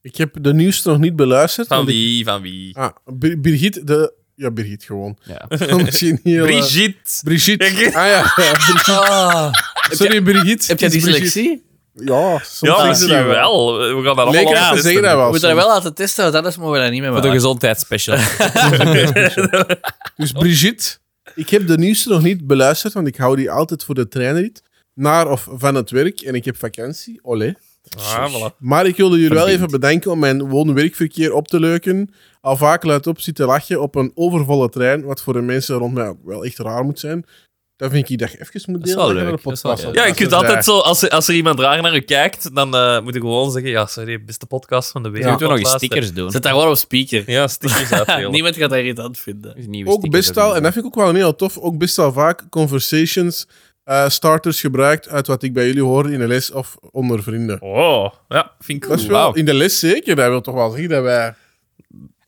B: Ik heb de nieuwste nog niet beluisterd.
A: Van
B: want ik-
A: wie? Van wie?
B: Ah, Bir- Birgit, de... Ja, Birgit gewoon.
C: Ja.
B: Dan misschien heel... eh,
A: Brigitte.
B: Brigitte.
A: Ik-
B: Ah ja, Brigitte. Sorry, Brigitte.
D: Ah. Heb jij
B: Het is Brigitte.
D: dyslexie?
B: Ja, soms
A: Ja,
B: is ze dat
A: misschien wel. We gaan daar
B: Leek
A: allemaal
B: aan
A: aan
B: te zeggen dat
D: We
B: wel.
D: moeten dat
B: soms.
D: wel laten testen, want anders mogen we dat niet meer
C: Voor de
D: maken.
C: gezondheidsspecial.
B: Dus Brigitte, ik heb de nieuwste nog niet beluisterd, want ik hou die altijd voor de treinrit. Naar of van het werk en ik heb vakantie. Olé.
A: Ah, voilà.
B: Maar ik wilde jullie wel even bedenken om mijn woon-werkverkeer op te leuken. Al vaak luid op zitten lachen op een overvolle trein, wat voor de mensen rond mij ook wel echt raar moet zijn. Dan vind ik dat je even moet
C: Dat is
B: delen.
C: wel
B: je
C: leuk.
B: naar de
C: Dat is wel-
B: podcast
A: Ja, je
B: luistert.
A: kunt altijd zo, als er, als er iemand raar naar je kijkt, dan eh, moet ik gewoon zeggen: Ja, sorry, beste podcast van de wereld.
C: Moeten we nog eens
A: Luister.
C: stickers doen?
D: Zet daar gewoon op speaker.
A: Ja, stickers uitdelen.
D: Niemand gaat dat irritant vinden.
C: Nieuwe
B: Ook
C: stickers
B: best wel,
C: doen.
B: en dat vind ik ook wel heel tof, ook best wel vaak conversations eh, starters gebruikt uit wat ik bij jullie hoor in de les of onder vrienden.
A: Oh, ja, vind ik
B: Dat is
A: cool.
B: wel,
A: Wauw.
B: in de les zeker, dat wil toch wel zeggen dat wij...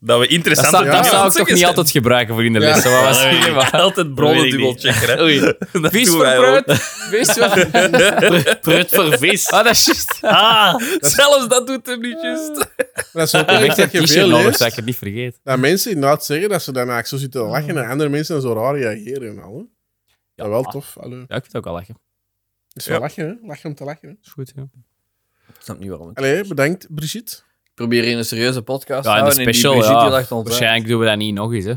A: Dat we
C: Dat
A: interessante
C: zou,
B: Ja.
A: dingen
C: dat zou
A: aan
C: ik
A: het
C: toch
A: zeggen
C: niet
A: zijn.
C: altijd gebruiken voor in de
B: Ja.
C: lessen. Wat was
D: Ja,
C: het?
D: dat weet
A: Altijd
D: Dat
A: bronnen
D: weet ik niet.
A: dubbelchecken.
D: Oei.
A: Dat
C: Vies
A: doen
C: voor
A: wij ook.
C: fruit. Vies voor...
D: Prut voor vis.
C: Ah, dat is juist.
D: Ah,
A: Zelfs dat doet hem niet juist.
B: Maar dat is ook
C: Ik heb
B: wel
C: echt
B: echt dat
C: een
B: je
C: t-shirt
B: veel
C: nodig,
B: leest,
C: dat ik het niet vergeet.
B: dat mensen inderdaad zeggen dat ze daarna zo zitten te lachen en andere mensen dan zo raar reageren en al. hè. Dat wel tof. Allee.
C: Ja, ik vind het ook wel lachen.
B: Dat is wel
A: Ja.
B: lachen, hè? Lachen om te lachen. hè.
C: Dat is goed, ja.
D: Ik snap niet waarom. Ik
B: Allee, bedankt, Brigitte.
D: probeer hier een serieuze podcast te
C: Ja, en de
D: houden. en die
C: special,
D: Brigitte
C: ja.
D: lacht ons uit.
C: Waarschijnlijk doen we dat niet nog eens, hè.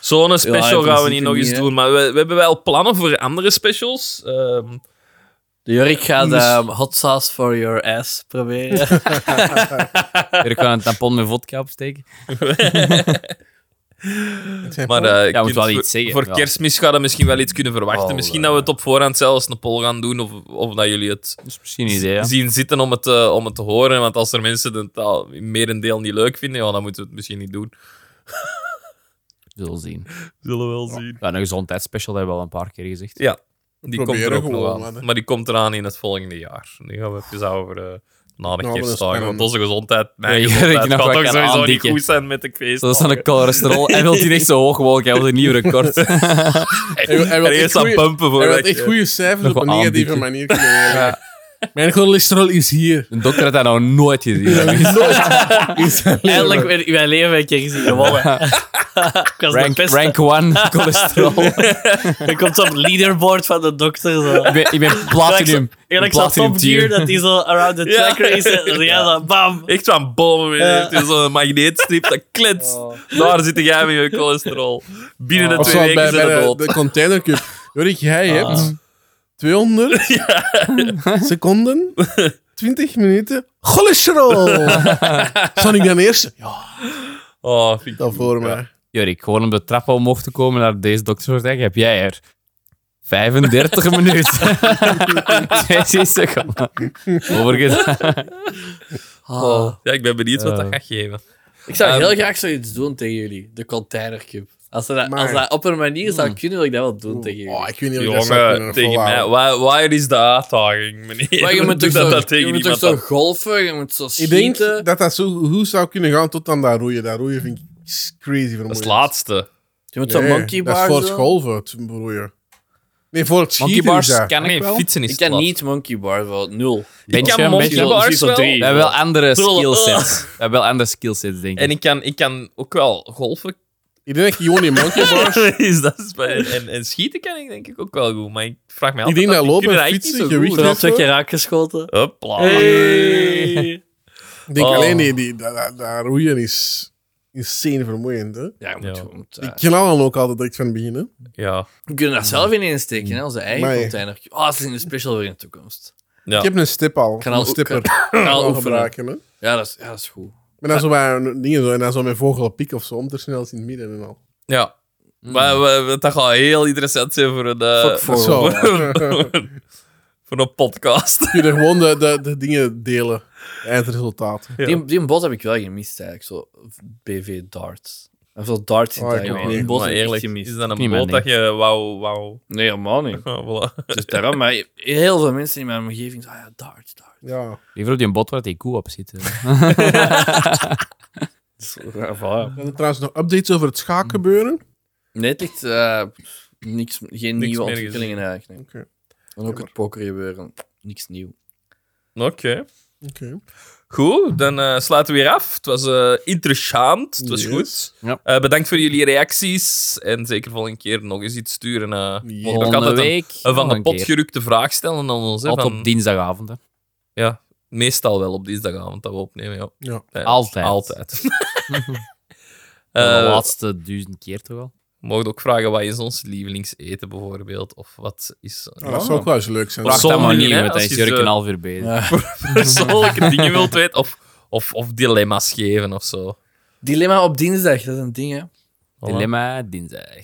A: Zo'n special gaan
D: principe
A: we niet nog eens
D: niet, hè.
A: doen, maar we, we hebben wel plannen voor andere specials. Ehm,
D: De Jorik gaat
A: Dus-
D: ehm, hot sauce for your ass proberen.
C: Ik kan een tampon met vodka opsteken.
B: Het zijn
A: maar
B: plannen.
A: eh, je
C: Oh, moet
A: kunt
C: wel
A: voor-
C: iets zeggen,
A: Voor
C: ja.
A: kerstmis gaan we misschien wel iets kunnen verwachten.
C: Oh,
A: misschien
C: eh.
A: dat we het op voorhand zelfs een poll gaan doen, of, of dat jullie het
C: Dat is misschien een idee, ja.
A: zien zitten om het, eh, om het te horen. Want als er mensen het al merendeel niet leuk vinden, ja, dan moeten we het misschien niet doen.
C: Zullen we zien.
A: Zullen we wel zien.
C: Ja, een gezondheidsspecial hebben we al een paar keer gezegd.
A: Ja, die komt er
B: proberen
A: ook nog
B: gewoon,
A: aan.
B: man, hè.
A: Maar die komt eraan in het volgende jaar. Nu gaan we even over eh, na de
B: dat is
A: kerstdagen. Want
B: spannend.
A: onze gezondheid, mijn
C: Ja, ik
A: gezondheid,
C: nog
A: gaat
C: wat
A: ook
C: kan
A: sowieso niet
C: aandikken.
A: goed zijn met de feest.
C: Zo is dan een cholesterol. Hij wil die echt zo hoog mogelijk. Hij wil een nieuw record.
B: Hij wil- hij wil
A: En
B: echt
A: eerst aan
B: goeie-
A: pumpen voor
B: hij wil
A: dat
B: echt
A: je-
B: goede cijfers
C: eh, Nog
B: op een
C: wel
B: negatieve
C: aandikken.
B: manier kunnen leren. Mijn cholesterol is hier.
C: Een dokter had dat nog nooit gezien.
B: Nooit in zijn leven.
D: Eindelijk ben ik in mijn leven een keer gezien gewonnen. ik was de
C: Rank,
D: beste.
C: rank one cholesterol.
D: Dan komt zo'n leaderboard van de dokter. Zo.
C: ik, ben, ik ben platinum.
D: Eerlijk, eerlijk zo'n
C: platinum
D: Top Gear
C: tier.
D: dat hij zo around the
A: Ja.
D: track race. En ja, zo bam.
A: Echt zo'n boom weer.
D: Ja. Oh.
A: Het is zo'n magneetstrip dat kletst. Daar zit jij met je cholesterol. Binnen de
B: Of
A: twee
B: zoals
A: weken
B: bij,
A: zijn we
B: bij de,
A: dood.
B: de Container Cup. Jorik, jij
A: Ah.
B: hebt 200 seconden, 20 minuten, cholesterol. Zal ik dan eerst? Ja,
A: Oh, vind ik
B: dat
A: goed,
B: voor
A: ja.
B: mij.
C: Jorik, gewoon om de trap omhoog te komen naar deze dokterspraktijk heb jij er 35 minuten. 16 seconden. Overigens.
B: Oh.
D: Ah.
A: Ja, ik ben benieuwd wat dat
C: Eh.
A: gaat geven.
D: Ik zou
A: Ehm,
D: heel graag zoiets doen tegen jullie. De Container Cup. Als ze dat,
B: Maar-
D: als dat op een manier zou kunnen, wil ik dat wel doen tegen jullie.
B: Oh, ik weet niet of ik dat zou
A: Jongen,
B: kunnen
A: tegen mij.
B: volhouden.
A: Waar, waar is de uitdaging, meneer?
D: maar je moet
A: Doe
D: toch
A: dat,
D: zo,
A: dat tegen
D: je moet toch
A: iemand
D: zo
A: dan.
D: golfen, je moet zo
B: Ik denk
D: schieten.
B: dat dat zo goed zou kunnen gaan tot aan dat roeien. Dat roeien vind ik crazy
A: Dat is het
B: vermoeiend.
A: laatste.
D: je moet zo'n
B: Nee,
D: monkey bar
B: Dat is voor
D: doen.
B: school, voor het roeien. Nee, voor het schieten
C: Monkey
B: is
C: bars
B: dat.
C: kan ik
A: nee,
C: wel.
A: fietsen is
D: Ik kan
A: het
D: niet monkey bar, wel nul.
A: laatste. Ik
C: Benchen,
A: kan monkey
C: benchen.
A: bars
D: Zo
A: wel.
D: drie.
C: We hebben wel andere
A: Terwijl-
C: skillsets. We hebben wel andere skillsets, denk ik.
A: En ik kan, ik kan ook wel golfen.
B: Ik denk dat je gewoon die monkey bars...
A: is dat is bij- en, en schieten kan ik denk ik ook wel goed. Maar ik vraag me af.
B: Ik denk dat lopen,
A: en
B: fietsen, gewicht
D: Zodat
B: heffen.
D: twee keer raakgeschoten.
A: Hopla.
D: Hey.
B: Ik denk
A: Oh.
B: alleen die, die, dat, dat- dat roeien is insane vermoeiend. Hè?
D: Ja, je moet
A: Ja.
D: gewoon...
B: Die knallen ook altijd direct van het begin. Hè?
A: Ja.
D: We kunnen dat zelf in insteken, hè? onze eigen
B: Nee.
D: container. Oh, dat is een special weer in de toekomst.
A: Ja.
B: Ik heb een stip al.
D: Kan al
B: een stipper.
D: Kan al
B: al
D: oefenen.
B: gebruiken. Hè?
D: Ja, dat is, ja, dat is goed.
B: Maar dan zo bij een dingen zo. En dan zo met vogelpiek of zo. Om te snel in het midden en al.
A: ja. Maar we- we- dat gaat heel interessant zijn voor een, eh,
D: Fuck voor.
B: Zo.
A: voor een podcast.
B: Kun je gewoon de, de, de dingen delen. Eindresultaat.
A: Ja.
D: Die, die bot heb ik wel gemist, eigenlijk. Zo BV darts. Of zo darts in
B: Oh, ik
D: het
B: ook
D: algemeen.
B: niet.
D: Die bot
A: maar
D: heb ik
A: eerlijk,
D: gemist.
A: is dat
C: Niet
A: een
C: mijn
A: boot dat je wauw, wauw...
D: Nee, helemaal niet.
A: Ah, voilà.
D: Dus daarom, maar heel veel mensen in mijn omgeving zeiden, ah ja, darts, darts.
B: Ja.
C: Liever op die bot waar die koe op zit. hè.
D: Ja, voilà.
B: Zijn er trouwens nog updates over het schaakgebeuren?
D: Nee, het ligt eh, niks, geen
A: Niks
D: nieuwe
A: meer
D: ontwikkelingen eigenlijk. nee. En ook het pokergebeuren. Niks nieuw.
A: Oké.
B: Oké.
A: Goed, dan eh, sluiten we weer af. Het was eh, interessant, het was
B: Yes.
A: goed.
C: Ja.
A: Eh, bedankt voor jullie reacties. En zeker volgende keer nog eens iets sturen. eh.
B: Ja.
A: Want ook
C: Volgende
A: altijd een-
C: week.
A: Een van
C: nog
A: de
C: een
A: pot
C: keer.
A: gerukte vraag stellen aan ons. hè,
C: Altijd
A: van-
C: op dinsdagavond. Hè.
A: Meestal wel op dinsdagavond dat we opnemen. Ja.
B: Ja.
A: Eh,
C: Altijd.
A: Altijd.
C: de
A: Eh,
C: laatste duizend keer toch wel.
A: Je mag ook vragen wat is ons lievelingseten bijvoorbeeld. Of wat is.
B: Ah, dat zou ook wel eens leuk zijn.
A: Vraag
C: Sommige
A: dat maar
C: manier,
A: niet, hè,
C: want dan
A: als
C: is
A: je
C: Jurk
A: ze-
C: een half uur bezig.
A: persoonlijke dingen wilt weten. Of, of, of dilemma's geven of zo.
D: Dilemma op dinsdag, dat is een ding, hè.
C: Dilemma dinsdag.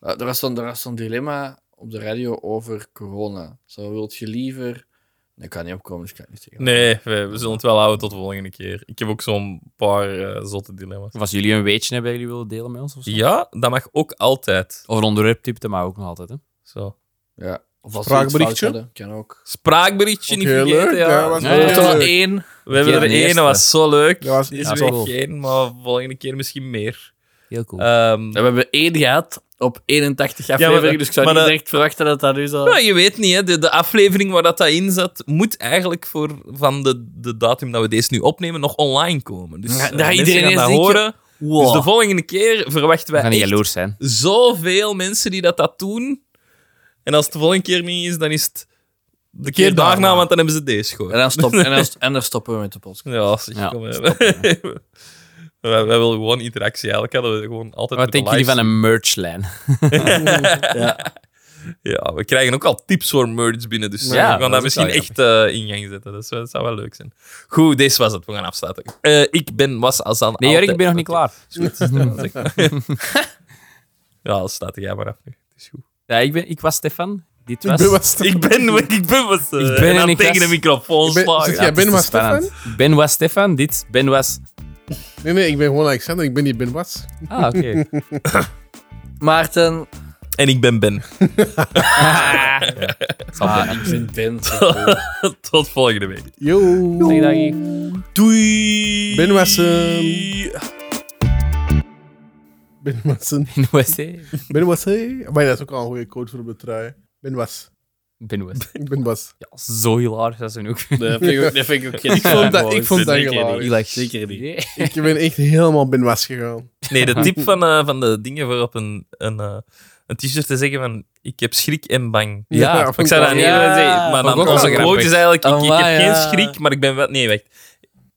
D: Eh, Er was zo'n er was zo'n dilemma op de radio over corona. Zo, wilt je liever... Nee, ik kan niet opkomen, dus ik kan het niet zeggen.
A: Nee, we, we zullen het wel houden tot de volgende keer. Ik heb ook zo'n paar eh, zotte dilemma's.
C: Of als jullie een weetje hebben dat jullie willen delen met ons. Of, zo.
A: Ja, dat mag ook altijd.
C: of een onderwerp typte, maar ook nog altijd. Hè.
A: Zo.
D: Ja. Of als
B: Spraakberichtje?
D: we iets fout hadden, Kan ook.
A: Spraakberichtje
B: Ook
A: niet
B: heel
A: vergeten.
B: leuk,
A: ja.
B: ja, was
A: We
C: heel
A: hebben er
B: leuk.
A: één. We hebben er
C: de
A: één,
C: eerste.
A: dat was zo leuk.
B: Dat was
A: Deze
B: echt
A: week
B: tof.
A: geen, maar volgende keer misschien meer.
C: Heel cool.
A: Ehm,
D: We hebben één gehad op 81 afleveringen,
A: maar-
D: dus ik zou
A: maar
D: niet
A: dat-
D: direct verwachten dat dat nu zo...
A: nou, je weet niet, hè. De, de aflevering waar dat, dat in zat, moet eigenlijk voor van de, de datum dat we deze nu opnemen nog online komen. Dus
D: Ja,
A: eh,
D: dat
A: mensen
D: iedereen
A: gaan
D: eens
A: dat
D: denkt,
A: horen. Dus de volgende keer verwachten
C: we
A: wij
C: gaan niet
A: echt
C: jaloers zijn.
A: zoveel mensen die dat, dat doen. En als het de volgende keer niet is, dan is het de, keer,
D: keer
A: daarna,
D: daarna.
A: want dan hebben ze deze gehoord.
D: En dan, stop, en, dan, en dan stoppen we met de podcast.
A: Ja, zeg,
C: Ja,
A: kom, hè.
C: stop,
A: wij, wij willen gewoon interactie. Eigenlijk hadden we gewoon altijd
C: Wat
A: moeten
C: denken jullie van
A: live
C: een merchlijn?
A: Ja, we krijgen ook al tips voor merch binnen, dus
C: Ja,
A: we gaan
C: dat
A: daar
C: is wel
A: misschien echt eh, in gang zetten. Dus, dat zou wel leuk zijn. Goed, deze was het. We gaan afsluiten. Eh, ik ben was Azan.
C: Nee, Jurk,
A: altijd-
C: ik ben nog niet klaar.
A: Is goed. Ja, dat is echt- ja, dan staat jij maar af. nu. Het is goed.
C: Ja, ik, ben, ik was Stefan. Dit
B: Ik
C: was...
B: ben wat Stefan.
A: Ik ben, ik ben was. eh,
C: Ik ben
A: en dan
C: en ik
A: tegen
C: was-
A: de microfoon
B: Ik ben-
A: slagen.
B: zit jij-
A: Ja.
C: het is
B: Ben
C: te
B: was
C: spannend. Ben was Stefan, dit Ben was...
B: Nee, nee, ik ben gewoon Alexander. Ik ben niet Ben Was.
C: Ah, oké.
D: Maarten.
A: En ik ben Ben.
C: Zal Ben.
D: ik vind Ben.
A: Tot volgende week.
B: Yo.
C: Dag, dag.
A: Doei.
B: Ben was, ehm, Ben Was. een-
C: Ben was, hè.
B: Ben Was. hey. Maar dat is ook al een goede code voor op de trui. Ben Was.
C: Ben was.
B: Ik ben Was.
C: Ja, zo hilarisch, dat is hun ook.
D: Dat vind ik ook- dat vind ik ook geen
B: Ik vond dat-
D: mooi.
B: ik vond dat
D: Zeker niet.
B: hilarisch.
D: Zeker niet.
C: Nee.
B: Ik ben echt helemaal Ben Was gegaan.
A: Nee, de tip van, eh, van de dingen voor op een, een, eh, een t-shirt te zeggen van ik heb schrik en bang.
C: Ja,
B: vond
A: Ik zou dat niet
D: Ja.
A: willen zeggen, maar
D: Oh,
C: Vond ik
A: dan
C: ook
A: onze
C: wel
A: quote
C: grappig.
A: is eigenlijk ik, ik heb
D: Amai,
A: geen
D: ja.
A: schrik, maar ik ben wel... Nee, wacht.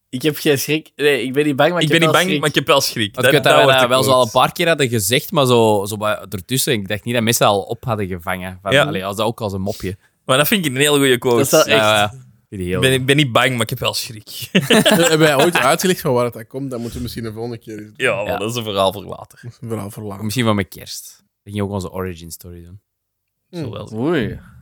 D: Ik heb geen schrik. Nee, ik ben niet bang, maar
A: Ik
D: ik,
A: ben niet
D: heb wel
A: bang,
D: schrik.
A: maar ik heb wel schrik.
C: Want ik weet dat, we
A: wordt
C: dat
A: de
C: wel zo
A: quote.
C: al een paar keer hadden gezegd, maar zo, zo wat ertussen. Ik dacht niet dat mensen dat al op hadden gevangen. Van,
A: Ja.
C: allee, als dat ook als een mopje.
A: Maar dat vind ik een hele goede quote.
D: Dat is wel
A: Ja,
D: echt-
A: ja.
C: Vind ik heel-
A: Ik ben, ik ben niet bang, maar ik heb wel schrik.
B: Hebben wij ooit uitgelegd van waar dat komt? Dat moeten we misschien de volgende keer eens
A: Ja, maar
C: Ja.
A: dat is een verhaal voor later.
B: een verhaal verlaten.
D: Hm.
C: Misschien van mijn kerst. Ik ging ook onze origin story doen.
A: Zo wel.
D: Oei.